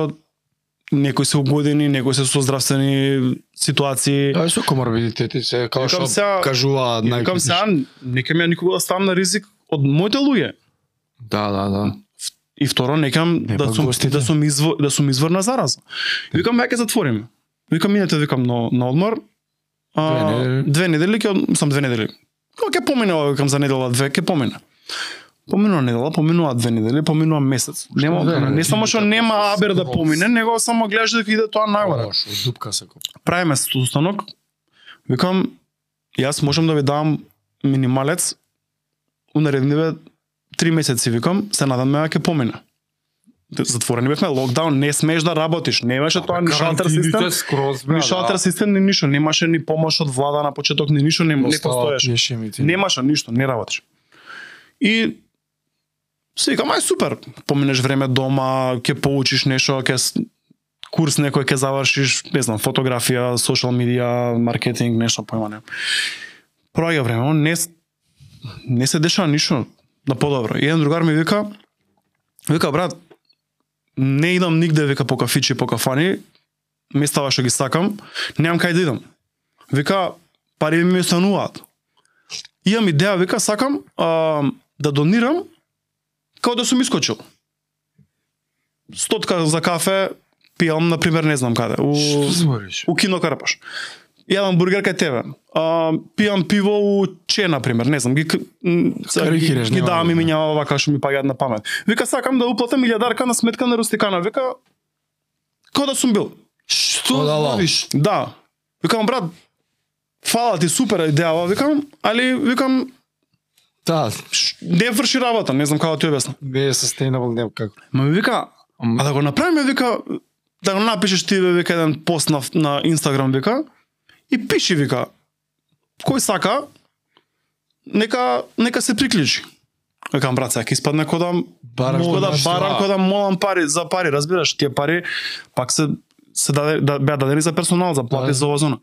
некои се угодени, некои се со здравствени ситуации. Тоа е со коморбидитети се, како Викам што сега- кажува И Викам се, нека ми ја никога да ставам на ризик од моите луѓе. Да, да, да. И второ, некам Не, да па сум, гостите. да сум извор, да сум извор на зараза. И Викам ја ќе затвориме. Викам минете викам на на одмор. А, Две две недели. недели. Две недели ќе од- сам две недели. Кога ќе помине ова викам за недела две ќе помине. Поминува недела, поминува две недели, поминува месец. Нема две недели? не само што нема абер да помине, него само гледаш дека иде тоа нагоре. Лошо, дупка се копа. Правиме состанок. Викам јас можам да ви дам минималец у наредниве три месеци викам, се надаме дека ќе помине. Затворени бевме, локдаун, не смееш да работиш, немаше тоа ни шалтер систем, скроз, да. бе, ни шалтер систем, ни ништо, немаше ни помош од влада на почеток, ни ништо не, не постоеше. Нема Немаше ништо, не работиш. И се викам, ај супер, поминеш време дома, ќе поучиш нешто, ќе с- курс некој ќе завршиш, не знам, фотографија, социјал медија, маркетинг, нешто појма не. Проаѓа време, не с- не се дешава ништо на подобро. И еден другар ми вика, вика брат, не идам нигде вика по кафичи, по кафани, местава што ги сакам, немам кај да идам. Вика, пари ми остануваат имам идеја, вика, сакам а, да донирам као да сум искочил. Стотка за кафе пијам, например, не знам каде, у, Што збориш? у кино Карпаш. Јадам бургер кај тебе. А, пијам пиво у Че, например, не знам, ги, к- м, са- Карикираш, ги, ги нема давам проблем. имења овака што ми паѓаат на памет. Вика, сакам да уплатам илјадарка на сметка на Рустикана. Вика, као да сум бил. Што Одала. збориш? Да. Викам, брат, фала ти, супер е идеја, ова, викам, али, викам, Да, Ш- не врши работа, не знам како да ти објаснам. Не е sustainable нема како. Ма ми вика, а да го направиме, вика, да го напишеш ти, бе, вика, еден пост на, на Инстаграм, вика, и пиши, вика, кој сака, нека, нека се приклjuči. Викам, брат, сега ќе испадне кој да Бараш мол- да да бараш барам, тоа. кој да молам пари, за пари, разбираш, тие пари пак се се даде, да, беа дадени за персонал, за плати, Да. за озона.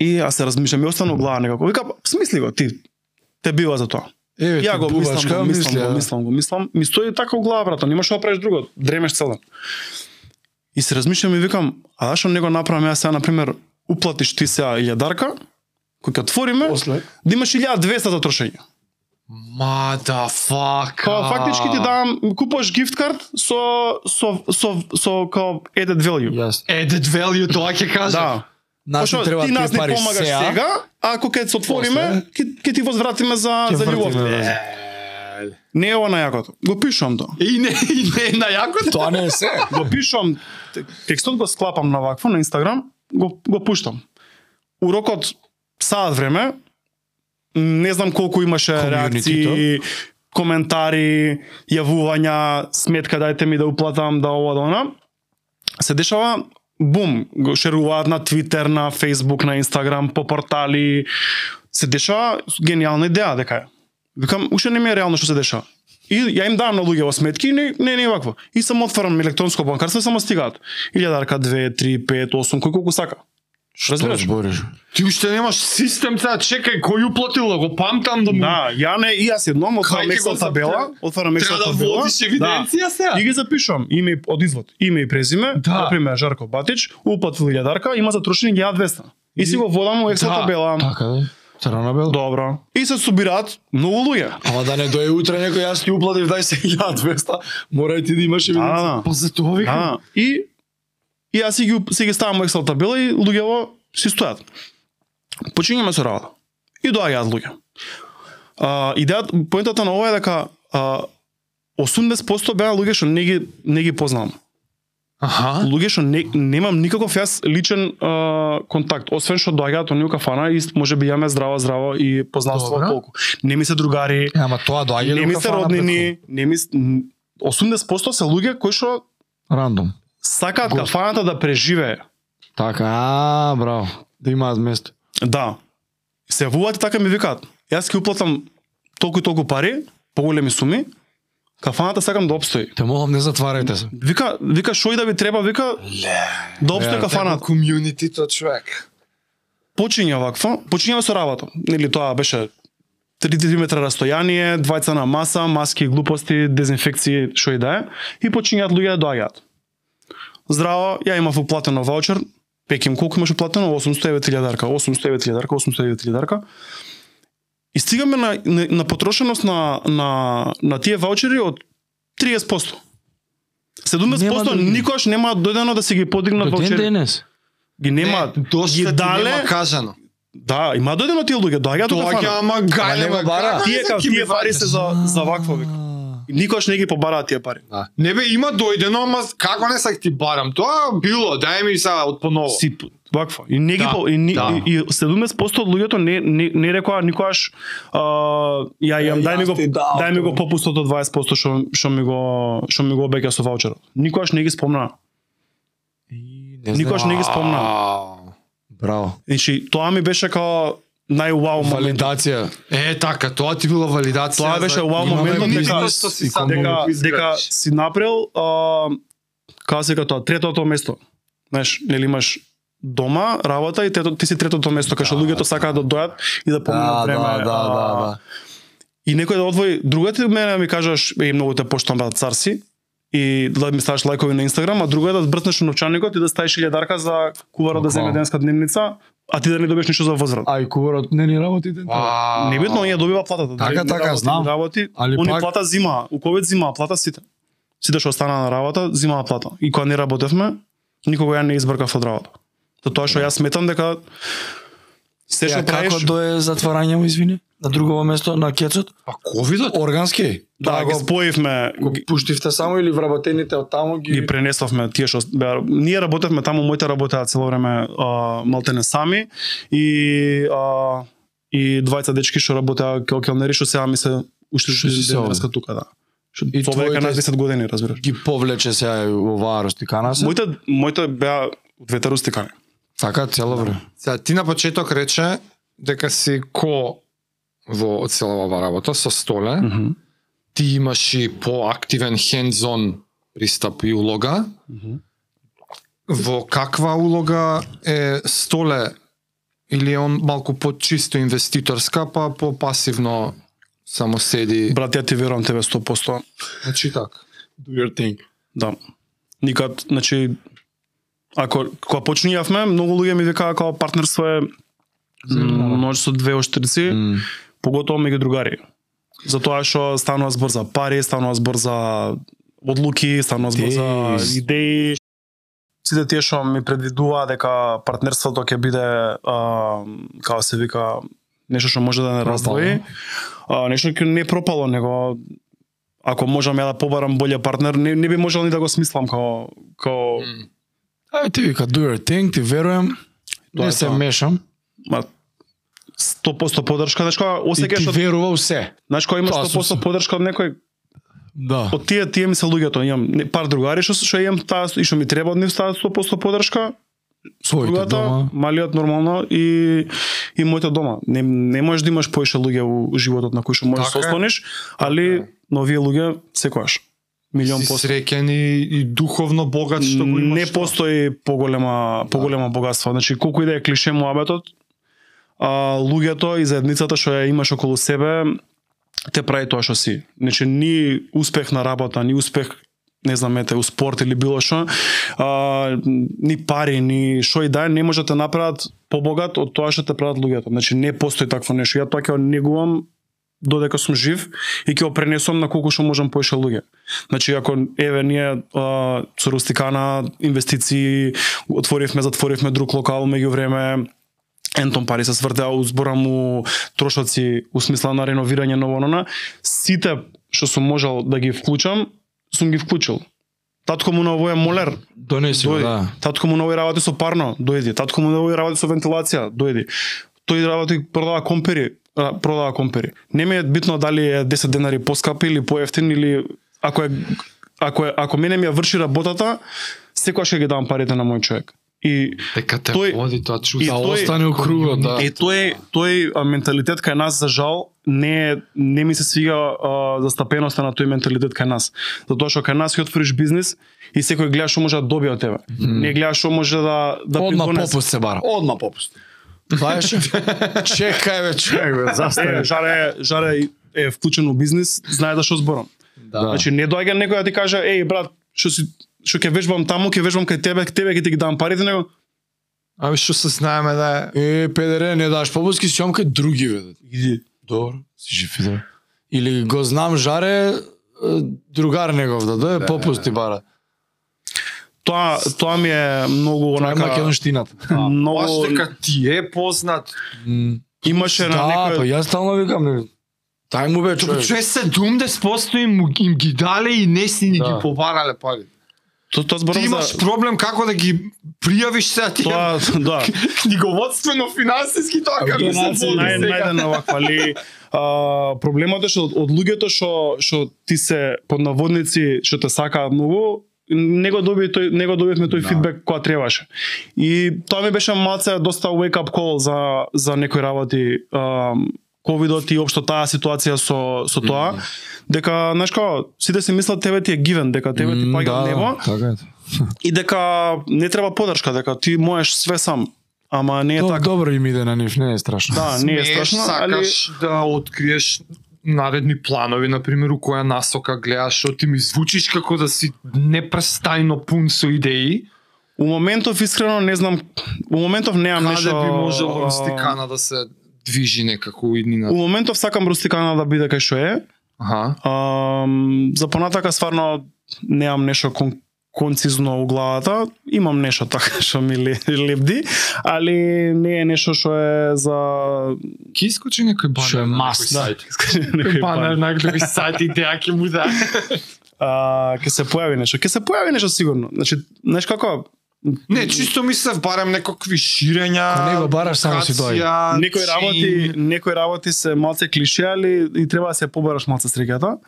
И аз се размислам, ми остана у глава некако. Вика, смисли го, ти, те бива за тоа. еве Ја ти го мислам, бубачка, го мислам, мисля, го да. мислам, го мислам. Ми стои така у глава, брато, немаш што да правиш друго, дремеш цел ден. И се размислувам и викам, а зашо не го направам јас сега, например, уплатиш ти сега илјадарка, кога отвориме, После. да имаш 1200 за трошење. Мада фака. Као фактички ти давам, купуваш гифт карт со, со, со, со, као added value. Јасно. Added value, тоа ќе кажам. Да. Нас Пошо, ни треба ти нас ти не пари помагаш сега, сега. а ако ќе се отвориме, ќе ќе ти возвратиме за, Ќе за вратиме, љубов. да. Е, Не е ова најакото. Го пишувам тоа. И не, и не, на јакото. Тоа не е се. го пишувам, те- текстот го склапам на вакво, на Инстаграм, го, го пуштам. Урокот саат време, не знам колку имаше реакции, коментари, јавувања, сметка дајте ми да уплатам, да ова, да она. Се дешава бум, го шеруваат на Твитер, на Фейсбук, на Инстаграм, по портали. Се дешава гениална идеја дека е. Викам, уште не ми е реално што се дешава. И ја им давам на луѓе во сметки и не, не, не е вакво. И само отварам електронско банкарство и само стигаат. Илјадарка, 2, 3, 5, 8, кој колку сака. Што збориш? Ти уште немаш систем, сега чекај, кој уплатил, да го памтам да му... Да, ја не, и јас едном Кај отварам ќе го Excel табела, запре- отварам Excel Треба да табела. Да. водиш евиденција сега. И ги запишувам име и- од извод, име и презиме, Да. да. например Жарко Батич, уплатил илјадарка, има затрошени 1200. И си го водам во Excel Да, табела. Така да. Црна бел. Добро. И се собираат многу луѓе. Ама да не дое утре некој јас ти уплатив 20200, мора и ти да имаш Да, да, да. Па за тоа викам. Да, и и јас си ги уп- си ги ставам во Excel табела и луѓето си стојат. Почињаме со работа. И доаѓаат луѓе. А идејата поентата на ова е дека а, 80% беа луѓе што не ги не ги познавам. Аха. Луѓе што не немам никаков јас личен а, контакт, освен што доаѓаат они у кафана и можеби јаме здраво здраво и познанство Добра. толку. Не ми се другари, Е, Ама тоа доаѓа не до ми се кафана роднини, не ми с- 80% се луѓе кои што пред- Рандом. сакаат Го- кафаната да преживее. Така, а, браво. Да имаат место. Да. Се јавуваат и така ми викаат. Јас ќе уплатам толку и толку пари, поголеми суми, кафаната сакам да обстои. Те молам не затварајте се. Вика, вика шо и да ви треба, вика, да обстои Ле, кафаната. Комјунити тоа човек. Почиња вакво, почињаме со работа. Нели тоа беше 3 метра растојание, двајца на маса, маски, глупости, дезинфекции, што и да е, и почињаат луѓе да доаѓаат. Здраво, ја имав уплатено ваучер, пеким колку имаш уплатено, 809.000 дарка, 809.000 дарка, 809.000 дарка. И стигаме на, на, на потрошеност на, на, на тие ваучери од 30%. 70% други. никош нема дојдено да се ги подигнат До ден ваучери. денес. Ги нема. доста ги ти дале- нема кажано. Да, има дојдено тие луѓе, доаѓаат до Тоа ќе кафана. ама нема гајле бара. Тие кај тие пари се за за вакво вика. Никош не ги побараа тие пари. Да. Не бе, има дојдено, ама како не сак ти барам? Тоа било, дај ми сега од поново. Си п- вакво. И не ги Да, по- и, ни- да. и, и 70% од луѓето не не не рекоа никогаш а, ја Е, јам дај ми јас го ти да, дав, дај ми бе. го попустот од 20% што што ми го што ми го обеќа со ваучерот. Никогаш не ги спомнаа. Никогаш не ги спомнаа. Ау. Браво. Значи тоа ми беше као најуау момент. Валидација. Е, така, тоа ти била валидација. Тоа беше вау Имаме моментот бизнес дека што си и сам дека го изградиш. дека си направил а како се вика тоа третото место. Знаеш, нели имаш дома, работа и трето, ти си третото место кај што Да, луѓето сакаат да дојат и да поминат време. а, И некој да одвои друга ти од мене да ми кажеш е многу те поштам брат цар си и да ми ставиш лайкови на Инстаграм, а друга е да брцнеш у новчаникот и да ставиш илјадарка за кувара да земе Буквално. денска дневница, а ти да не добиеш ништо за возврат. А и куварот не ни работи ден. Вау. Небитно, ја добива платата. да. Така, Дали не така, работи, знам. не Работи, Али они пак- плата зима, у ковид зима плата сите. Сите што останаа на работа, зимаа плата. И кога не работевме, никога ја не избркав од работа. За тоа што јас сметам дека се што Ја како правиш, дое затварање му извини? На друго место на кецот? Па ковидот? Органски? да, Тоа ги го споивме, го пуштивте само или вработените од таму ги ги пренесовме тие што беа- ние работевме таму, моите работеа цело време а, малтене сами и а, и двајца дечки што работеа као келнери што сега ми се уште Што си се овде? денеска тука да. Што И тоа века твоите- на 10 години, разбираш. ги повлече се оваа ростикана се. Моите моите беа двете рустикани. Така цело време. Да. Сега, ти на почеток рече дека си ко во цела ова работа со столе, Мгм. ти имаш и поактивен hands-on пристап и улога. Мгм. Во каква улога е столе или е он малку по-чисто инвеститорска, па по-пасивно само седи? Брат, ја ти верувам тебе 100%. Значи така. Do your thing. Да. Никад, значи Ако кога почнувавме, многу луѓе ми викаа како партнерство е м, ноќ со две оштрици, М. поготово меѓу другари. Затоа што станува збор за пари, станува збор за одлуки, станува збор за Идеи. идеи. Сите тие што ми предвидуваа дека партнерството ќе биде а, како се вика нешто што може да не раздвои, а, нешто ќе не пропало, него ако можам ја да побарам боле партнер, не, не би можел ни да го смислам као као Ај ти вика, do your thing, ти верувам, Тоа е не се тоа. мешам. ма 100% подршка, значи кога И осеќаш ти од верува у се. значи кога имаш Тоа сум 100% подршка од некој Да. од тие тие ми се луѓето, имам не, пар другари што што имам таа и што ми треба од нив да таа 100% подршка, Своите другата дома. малиот нормално и и моето дома. Не не можеш да имаш поише луѓе у животот на кои што можеш да се Така е. Така ослониш, али но овие луѓе секогаш милион Си посто. среќен и, и духовно богат што го имаш. да. не постои поголема поголема богатство. Значи колку и да е клише муабетот, а луѓето и заедницата што ја имаш околу себе те прави тоа што си. Значи ни успех на работа, ни успех не знам ете у спорт или било што, а, ни пари, ни што и да е, не може да те направат побогат од тоа што те прават луѓето. Значи не постои такво нешто. Ја тоа ќе го негувам додека сум жив и ќе го пренесам на колку што можам поише луѓе. Значи ако еве ние а, со Рустикана инвестиции отворивме, затворивме друг локал меѓувреме Ентон пари се свртеа у збора му трошоци у смисла на реновирање ново нона, сите што сум можел да ги вклучам, сум ги вклучил. Татко му на овој е молер, Донеси го, дојди. да. Татко му на овој работи со парно, дојди. Татко му на овој работи со вентилација, дојди. Тој работи продава компери, а, продава компери. Не ми е битно дали е 10 денари поскапи или поевтин или ако е ако е ако мене ми ја врши работата, секогаш ќе ги давам парите на мој човек. И Дека те Тој- води тоа чувство. и Да тој- остане у кругот, да. Е тој тој а, менталитет кај нас за жал не е- не ми се свига а, застапеноста на тој менталитет кај нас. Затоа што кај нас ќе отвориш бизнис и секој гледа што може да добие од тебе. Не гледа што може да да Одма придонесе. попуст се бара. Одма попуст. Тоа е шеф. Чекај бе, човек бе, Е, застани. жаре жаре е вклучен у бизнис, знае да што зборам. Да. Значи не доаѓа некој да ти каже, еј брат, што си што ќе вежбам таму, ќе вежбам кај тебе, кај тебе ќе ти ги дам парите, него Ами што се знаеме да е Е, педере, не даш побуски, си омка други, бе. иди. Добро, си жив и здрав. Или го знам жаре, е, другар негов да дое, попусти бара. Тоа тоа ми е многу Тоа е онака македонштината. многу Аз дека ти е познат. имаше на Да, па некој јас стално викам, не, тај му бе, Тоа човек. човек 70% им, му- им ги дале и не си ни Да. ги побарале пари. Тоа тоа Ти зборам имаш за проблем како да ги пријавиш се, а ти е тоа да. книговодствено финансиски тоа како се Нај води сега. најден оваква ли а, проблемот е што од, од луѓето што што ти се под наводници што те сакаат многу не го доби тој не го добивме тој фидбек која требаше. И тоа ми беше малце доста wake up call за за некои работи а, ковидот и општо таа ситуација со со тоа дека знаеш како сите си мислат тебе ти е гивен дека тебе ти М, паѓа од да, небо Така е. и дека не треба подршка дека ти можеш све сам ама не е Тоа така добро им иде на нив, не е страшно. Да, не е Смееш, страшно, али сакаш да откриеш наредни планови, на пример, у која насока гледаш, што ти ми звучиш како да си непрестајно пун со идеи, у моментов искрено не знам, у моментов немам каде нешто. би а, можело Рустикана да се движи некако у У иднина. моментов сакам рустикана да биде кај што е. Аха. Ам, за понатака стварно немам нешто кон концизно у главата, имам нешто така што ми ле- лебди, али не е нешто што е за Ки искочи некој банер? Што е на некој маст, да. сайт? некој Банер план. на некој сайт идеја ќе му да. А, ке се појави нешто, ке се појави нешто сигурно. Значи, знаеш како, Не, чисто мислев барам некакви ширења. Кај него бараш, само си дојде. адвокација, некои работи, некои работи се малце клише, али и треба да се побараш малце среќата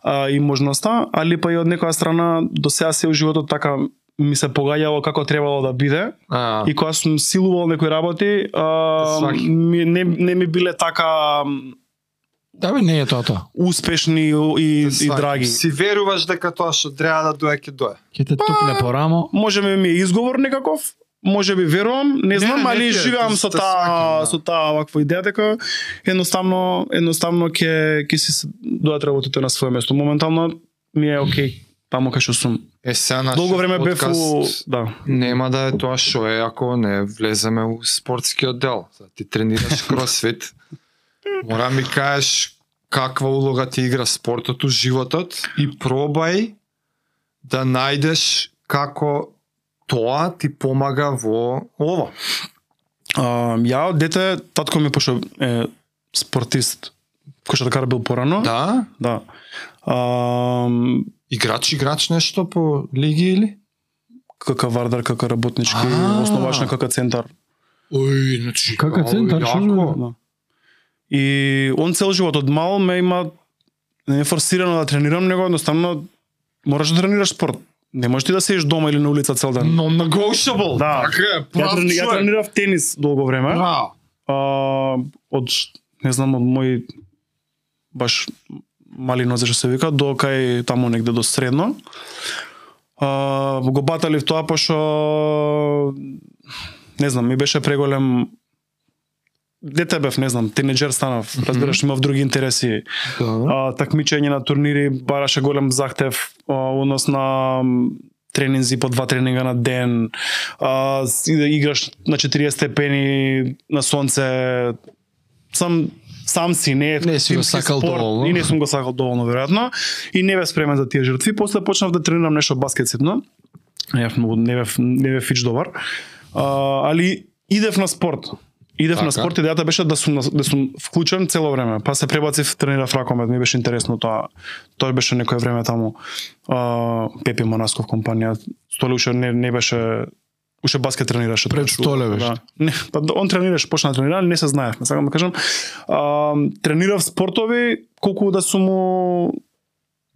а, и можноста, али па и од некоја страна до сега се у животот така ми се погаѓало како требало да биде А, и кога сум силувал некои работи, а, Сваки. ми, не, не ми биле така м, Да бе, не е тоа тоа. успешни и, и сваки. драги. Си веруваш дека тоа што треба да дое ќе дое. Ќе те тупне Па- по рамо. Може би ми е изговор некаков, може би верувам, не знам, не, али не, живеам не, со те сакам, таа да. со таа ваква идеја дека едноставно едноставно ќе ќе си се- дојат работите на свое место. Моментално ми е окей таму кај што сум. Е, сега нашиот Долго време бев у... подкаст Да. Нема да е тоа што е ако не влеземе у спортскиот дел. За Ти тренираш кросфит. Мора ми кажеш каква улога ти игра спортот у животот и пробај да најдеш како тоа ти помага во ова. А, ја од дете, татко ми пошо е спортист, кошаркар бил порано. Да? да. А, Играч играч нешто по лиги или? кака Вардар, кака работнички, А. основач на кака центар. Ој, значи Кака браво, центар, јако. шо Да. И он цел живот од мал ме има не е форсирано да тренирам, него едноставно мораш да тренираш спорт. Не можеш ти да седиш дома или на улица цел ден. Non negotiable. Да. Така е, Ја, прав трени, ја човек. тренирав тенис долго време. Браво. а, од не знам од мој баш мали нозе што се вика до кај таму негде до средно. А, го баталив тоа пошо не знам, ми беше преголем дете бев, не знам, тинеџер станав, разбираш, имав други интереси. Добро. А, такмичење на турнири бараше голем захтев а, однос на м, тренинзи по два тренинга на ден, а, с- и да играш на 40 степени на сонце, сам сам си не Не си го тимски сакал спорт, доволно. И не сум го сакал доволно веројатно и не бев спремен за тие жртви. После почнав да тренирам нешто баскет ситно. Не бев многу не бев не бев фич добар. А, али идев на спорт. Идев Така. на спорт идејата беше да сум на- да сум вклучен цело време. Па се пребацив тренирав ракомет, ми беше интересно тоа. Тоа беше некое време таму. А, Пепи Монасков компанија Столе уште не не беше уште баскет тренираше. тоа, Пред шу- Столе беше. Да. Не, па да, он тренираше, почна да тренира, али не се знаевме, сакам да кажам. А, тренирав спортови колку да сум му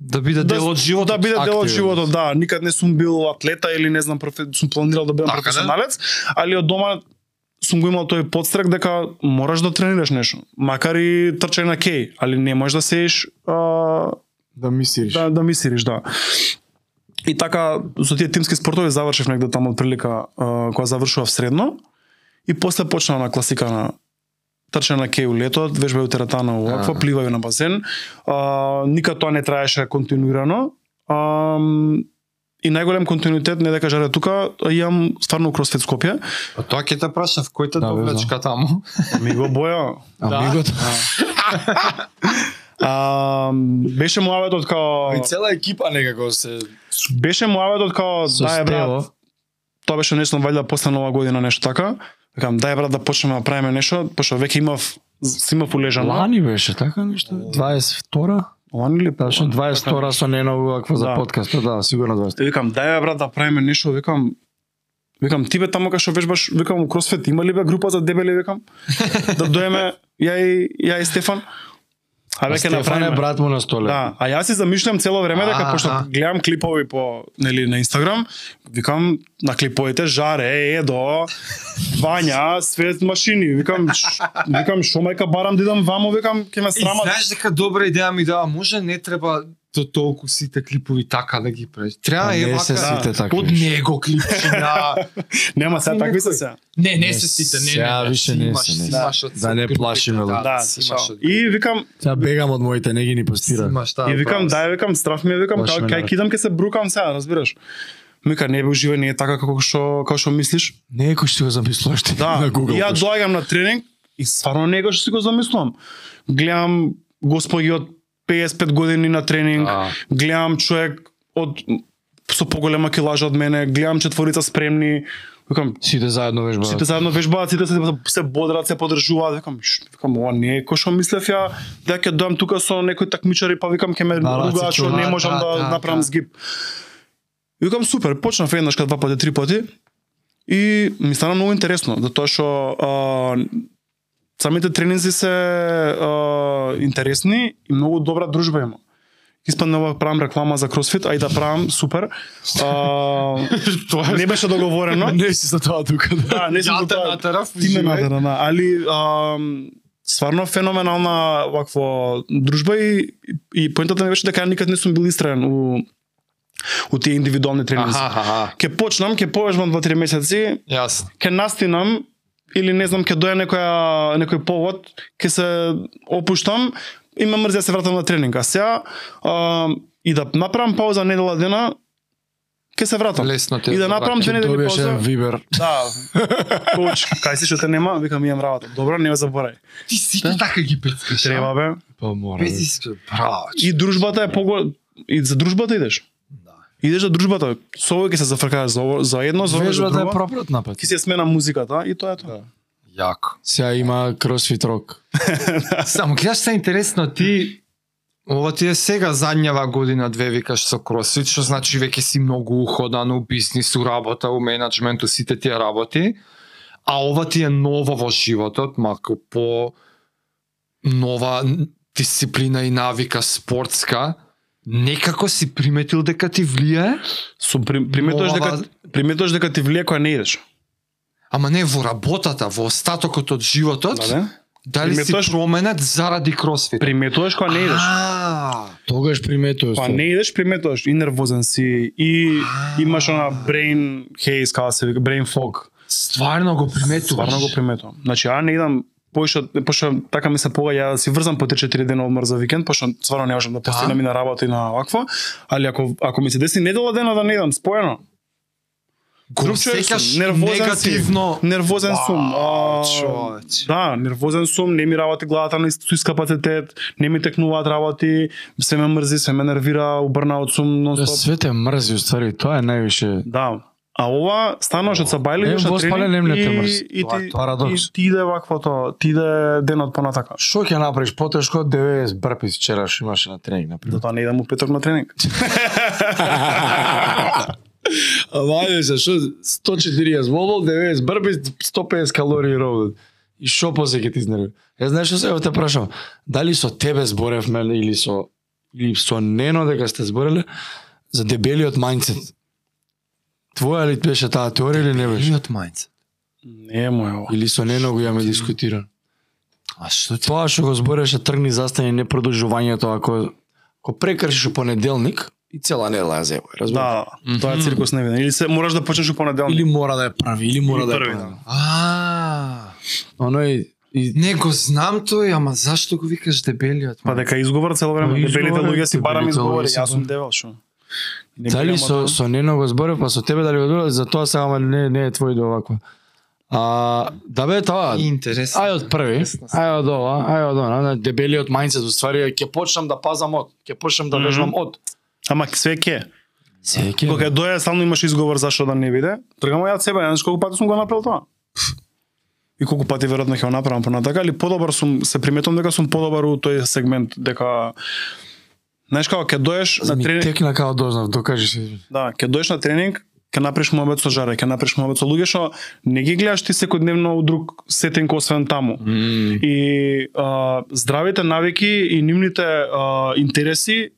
Да биде дел од животот. да биде дел од активен. животот, да. Никад не сум бил атлета или не знам профе... сум планирал да бидам Така, да. професионалец, али од дома сум го имал тој подстрек дека мораш да тренираш нешто. Макар и трчање на кеј, али не можеш да сееш а, Да мислиш. да, да мислиш, да. И така, со тие тимски спортови завршив негде таму од прилика кога завршував средно. И после почна на класика на трчање на кеј у лето, вежбај у теретана у аква, Ага. пливај на базен. А, никад тоа не траеше континуирано. А, и најголем континуитет не е дека жаре тука, а имам стварно кросфит Скопје. Па тоа ќе те прашав кој те Да, бе, довлечка таму. Ми го боја. Амигот. А, беше муаветот као цела екипа некако се беше муаветот као Со дај брат, Стево. тоа беше нешто валја после нова година нешто така. Викам дај брат да почнеме да правиме нешто, пошто веќе имав си имав улежано. Лани беше така нешто. 22-ра? Лани ли Точно 22-ра со Нено Уваква за Да. подкаст, да, сигурно 22. Викам дај бе, брат да правиме нешто, викам Викам ти бе таму кај што вежбаш, викам у кросфит има ли бе група за дебели, викам. да доеме ја и ја и Стефан. А веќе Стефан е направиме. брат му на столе. Да, а јас си замишлям цело време дека Аха. пошто гледам клипови по нели на Инстаграм, викам на клиповите жаре, едо, Вања, свет машини, викам ш- викам што мајка барам да идам ваму, викам ќе ме И срамат. знаеш дека добра идеја ми дава, може не треба до толку сите клипови така да ги праиш. Треба Па е не се вака сите такви. од него клипчина. Нема се такви се Никој. сега. Не, не Не, се сите, не, сега не, не. више Си не имаш, се, не си се. имаш од Да не групите, плашиме да, луѓе. Да, Да, си имаш шо. од И викам Сега бегам од моите, не ги ни си постира. имаш, да, и викам браво. дај викам страв ми е, викам Лошо кај ме кај наве. кидам ќе се брукам сега, разбираш. Мика не е уживе, не е така како што како што мислиш. Не е кој што го замислуваш ти Да, Значи, на Google. и ја доаѓам на тренинг и стварно него што си го замислувам. Гледам господи од 55 години на тренинг, Да. гледам човек од со поголема килажа од мене, гледам четворица спремни, викам Сите заедно вежбаат. сите заедно вежбаат, сите се, се бодрат, се подржуваат, викам, «Ш, викам ова не е кој што мислев ја, да ќе дојам тука со некој такмичари па викам ќе ме Да, да, ругаат се што не чува, можам да, да, да, направам да. згиб. Викам супер, почнав еднашка два пати, три пати и ми стана многу интересно, затоа што а, самите тренинзи се а, интересни и многу добра дружба има. Испадна ова правам реклама за кросфит, а и да правам супер. А, Тоа не беше договорено. Не си за тоа тука. Да, не сум Ја за те тоа. натарав, Ти ме живеј. надера, да. Али, ам, стварно феноменална вакво дружба и, и поентата ми беше дека никад не сум бил истраен у, у тие индивидуални тренинзи. Аха, аха. Ке почнам, ке повежбам 2-3 месеци, Јасно. ќе настинам или не знам ќе доја некоја некој повод, ќе се опуштам и ме мрзи да се вратам на тренинг. А сега а, и да направам пауза недела дена, ќе се вратам. Лесно те. И да направам враќа. две недели Добиеш пауза. еден вибер. Да, коуч, кај си што те нема, викам имам работа. Добро, не ме заборај. Ти сите така ги прескаш. Треба бе. Па мора. Без искрен. Браво. че. И дружбата е пого и за дружбата идеш. Да. Идеш за дружбата, со овој ќе се зафркааш за ово, за едно, за ово, за Вежбата е Да. друго. пропрат напад. Ќе се смена музиката и тоа е тоа. Јако. Сега има кросфит рок. Само гледаш се интересно ти Ова ти е сега задњава година две викаш со кросфит, што значи веќе си многу уходан у бизнис, у работа, у менеджменту, сите тие работи. А ова ти е ново во животот, малку по нова дисциплина и навика спортска. Некако си приметил дека ти влијае, Со при- приметуваш дека Ова- приметуваш дека ти влие кога не идеш. ама не во работата, во остатокот од животот. Дале? Дали си Приметуваш- променет заради кросфит? Приметуваш кога не идеш. А, Тогаш приметуваш. Па тоа. не идеш, приметуваш и нервозен си и имаш она brain haze како се вика, brain fog. Стварно го приметуваш. Стварно го приметувам. Значи ја не идам пошто пошто така ми се погаѓа да си врзам по 3-4 дена одмор за викенд, пошто стварно не можам да постигнам и на работа и на вакво, али ако ако ми се десни недела дена да не идам споено, Го друг човек сум, сеќаш нервозен негативно. сум, нервозен сум. Вау, а, човече. Да, нервозен сум, не ми работи главата на истус капацитет, не ми текнуваат работи, се ме мрзи, се ме нервира, убрнаот сум Да, нонстоп. Све те мрзи, устари, тоа е највише. Да. А ова стануваш од Е, сабајле идеш во на спален тренинг емле те и, мрзи. и, Тоа е ти, парадокс. и ти иде вакво тоа, ти иде денот понатака. Што ќе направиш потешко од 90 брпис вчераш имаше на тренинг на пример. Затоа Да не идам у петок на тренинг. Вајде се, што 140 водол, 90 брпис, 150 калории ровно. И што после ќе ти изнерви? Е, знаеш што сега те прашам? Дали со тебе зборевме или со или со Нено дека сте збореле за дебелиот мајндсет? Твоја ли беше таа теорија или не беше? Живот мајнц. Не е мој ова. Или со Нено го имаме дискутиран. А што ти? Тоа што го збореше тргни застани не продолжувањето ако ако прекршиш у понеделник и цела недела ја зебој, разбираш? Да, тоа е циркус невиден. Или се мораш да почнеш у понеделник. Или мора да ја прави, или мора Или да ја први, да. прави. А. Оно и, и Не го знам тој, ама зашто го викаш дебелиот? Па дека изговор цело време Па, дебелите изговор е, луѓе си барам дебелите изговори, луѓе си јас сум барам. дебел шо. Не дали бирам со од- со Нено го зборев, па со тебе дали го зборев, за тоа сега ама не не е твој до оваква. А да бе тоа. интересно. Ај од први, ај од ова, ај од она, на дебелиот мајндсет уствари ќе почнам да пазам од, ќе почнам да Мгм. вежбам од. Ама све ке. Секи. Кога ќе дојде стално имаш изговор зашто да не биде. Тргам ја од себе, знаеш колку пати сум го направил тоа. И колку пати веројатно ќе го направам понатака, али подобар сум, се приметувам дека сум подобар у тој сегмент дека знаеш како ќе доеш на Ми тренинг, текна као дознав, докажи се. Да, ќе доеш на тренинг, ќе направиш муабет со жаре, ќе направиш муабет со луѓе што не ги гледаш ти секојдневно у друг сетинг освен таму. И а, здравите навики и нивните а, интереси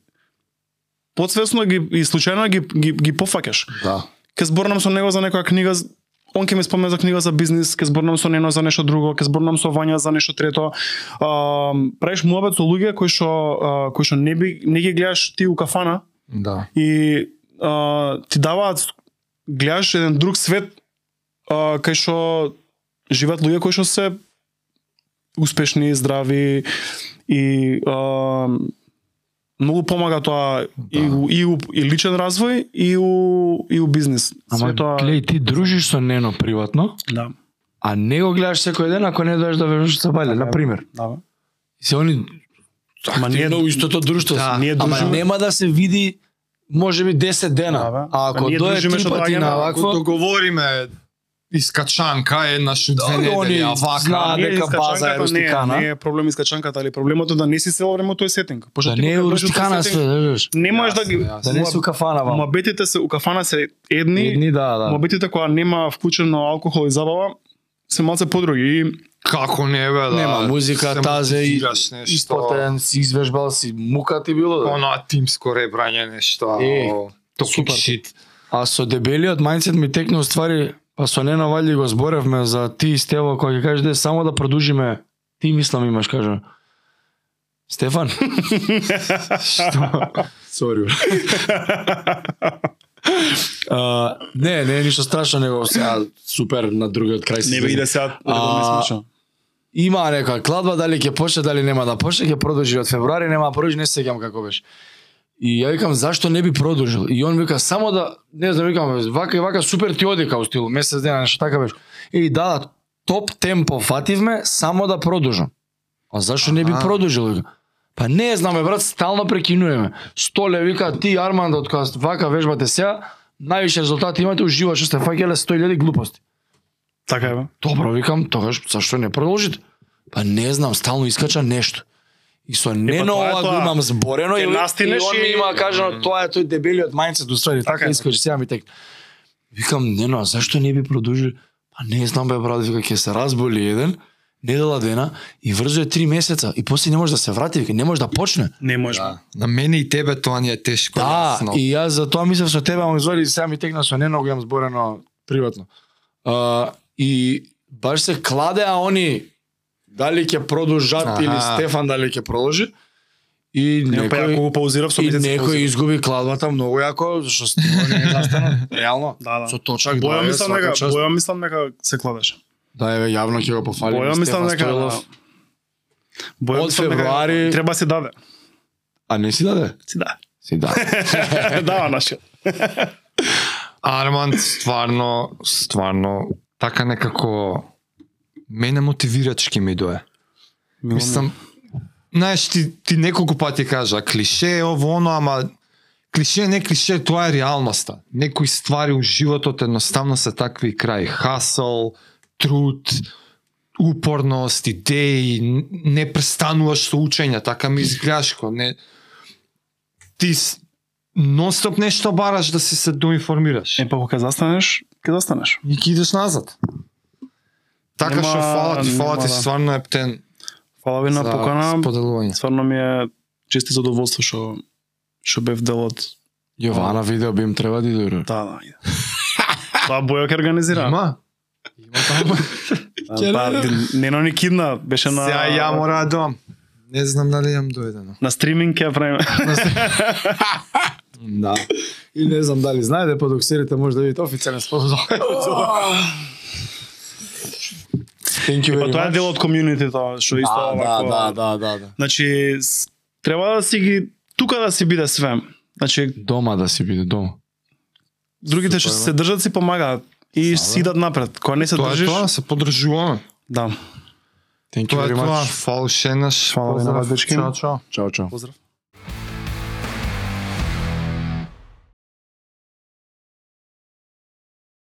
подсвесно ги и случајно ги ги, ги пофаќаш. Да. Ке зборнам со него за некоја книга, з- он ќе ми спомена за книга за бизнис, ке зборнам со нено за нешто друго, ке зборнам со Вања за нешто трето. А, правиш муабет со луѓе кои што а, кои што не би не ги гледаш ти у кафана, Да. и а, ти даваат гледаш еден друг свет а, кај што живеат луѓе кои што се успешни, здрави и а, многу помага тоа и, Да. у, и, у, и личен развој и у, и у бизнис. Ама Све тоа глеј ти дружиш со Нено приватно, да, а не го гледаш секој ден ако не доеш да вежбаш со Бајле, на пример. да. бе. Се они Ама ние активно у истото друштво. Да, се. ние Ама дружиме- нема да се види може би 10 дена. Да, бе. а ако Па ние дое дружиме три што пати да доаѓаме, на ако вакво, Ако договориме искачанка една шу две Добро, они недели, а вака. знаат. Ние дека база е искачанката не рустикана. Не е проблем искачанката, али проблемот е да не си цело време у тој сетинг. Пошто да ти не е кога дојдеш у тој рустикана сетинг, све, да виждаш. Не можеш да Јасно, ги јасно. Да не се кафана вам. Мобетите се у кафана се едни, едни Едни да, да. мобетите која нема вклучено алкохол и забава се малце подруги и Како не бе, да. Нема музика, се тазе и мотивираш нешто. исплатен, си извежбал си, мука ти било. да. Она тимско ребрање нешто. Е, Току супер. шит. А со дебелиот мајндсет ми текна уствари, па со Нено Валје го зборевме за ти и Стево, кој ќе каже де само да продужиме, ти мислам имаш, кажа. Стефан. Што? Сори. А, не, не е ништо страшно, него сега супер на другиот крај се. не да би иде сега редовно А, смешно. Има некоја кладба, дали ќе почне, дали нема да почне, ќе продолжи од февруари, нема да продолжи, не се сеќам како беше. И ја викам зашто не би продолжил? И он вика само да не знам викам вака и вака супер ти оди као стил месец дена нешто така беше. И да, да, топ темпо фативме само да продолжам. А зашто не би Аха. продолжил? Вика. Па не знаме брат, стално прекинуваме. Столе вика ти Арман од кога вака вежбате сега, највише резултати имате, уживаш што сте фаќале 100.000 глупости. Така е, бе. Добро, викам, тогаш зашто не продолжите? Па не знам, стално искача нешто. И со тоа е ненова го тоа. имам зборено Ќе и, и настинеш он ми и- има кажано тоа е тој дебелиот мајнцет устради, Така така е. искаш сега ми тек. Викам, не но, зашто не би продолжил? Па не знам бе брат, вика ќе се разболи еден, недела дена и врзо е три месеца и после не може да се врати, вика не може да почне. Не можеш. бе. Да. На мене и тебе тоа ни е тешко. Да, јасно. и јас за тоа мислев со тебе, ама извади сега ми текна со Нено, го имам зборено приватно. А, и баш се кладеа они дали ќе продолжат Аха. или Стефан дали ќе продолжи. И Не, па некој, ако го паузирав со и месец. некој паузирав. изгуби кладбата многу јако, што Стефан не застана, реално. Да, да. Со точак Боја дваја, мислам свака дека, част. боја мислам дека се кладеше. Да, еве, јавно ќе го пофалим. Боја мислам Стефан дека Стоилов. Боја Од мислам дека февруари- треба се даде. А не си даде? Си да. Си да. Дава нашиот. Арманд стварно, стварно, така некако мене мотивирачки ми дое. Мислам, знаеш, ти, ти неколку пати кажа, клише е ово, оно, ама клише не клише, тоа е реалноста. Некои ствари у животот едноставно се такви и крај. Хасл, труд, упорност, идеи, н- не престануваш со учење, така ми изгледаш ко не ти с- нонстоп нешто бараш да си се доинформираш. Е, па ако ќе застанеш, ќе застанеш. И ќе идеш назад. Така Нема- што фала ти, фала нема ти, да. стварно е птен Фала ви за на покана. споделување. Стварно ми е чести задоволство што што бев дел од Јована видео би им треба да иде. да, да. иде. Тоа Бојо ќе организира. Има? Има таму. А, Па, Нено ни кидна, беше на Сега ја мора да доам. Не знам дали јам доедено. на стриминг ќе ја правиме. Да. И не знам дали знаете, по доксерите може да видите официјален спонзор. Thank you Па very тоа е much. дел од комјунити тоа, што исто Да, да, овако. да, да, да, да. Значи с- треба да си ги тука да си биде све. Значи Дома да си биде дома. другите што се држат си помагаат и си идат напред. Кога не се Тоа е држиш, тоа, се подржуваме. да. Thank you Тоа е very тоа, much. фал шенаш, Фала ви на вас, дечки. Чао, чао. Чао, чао. Поздрав.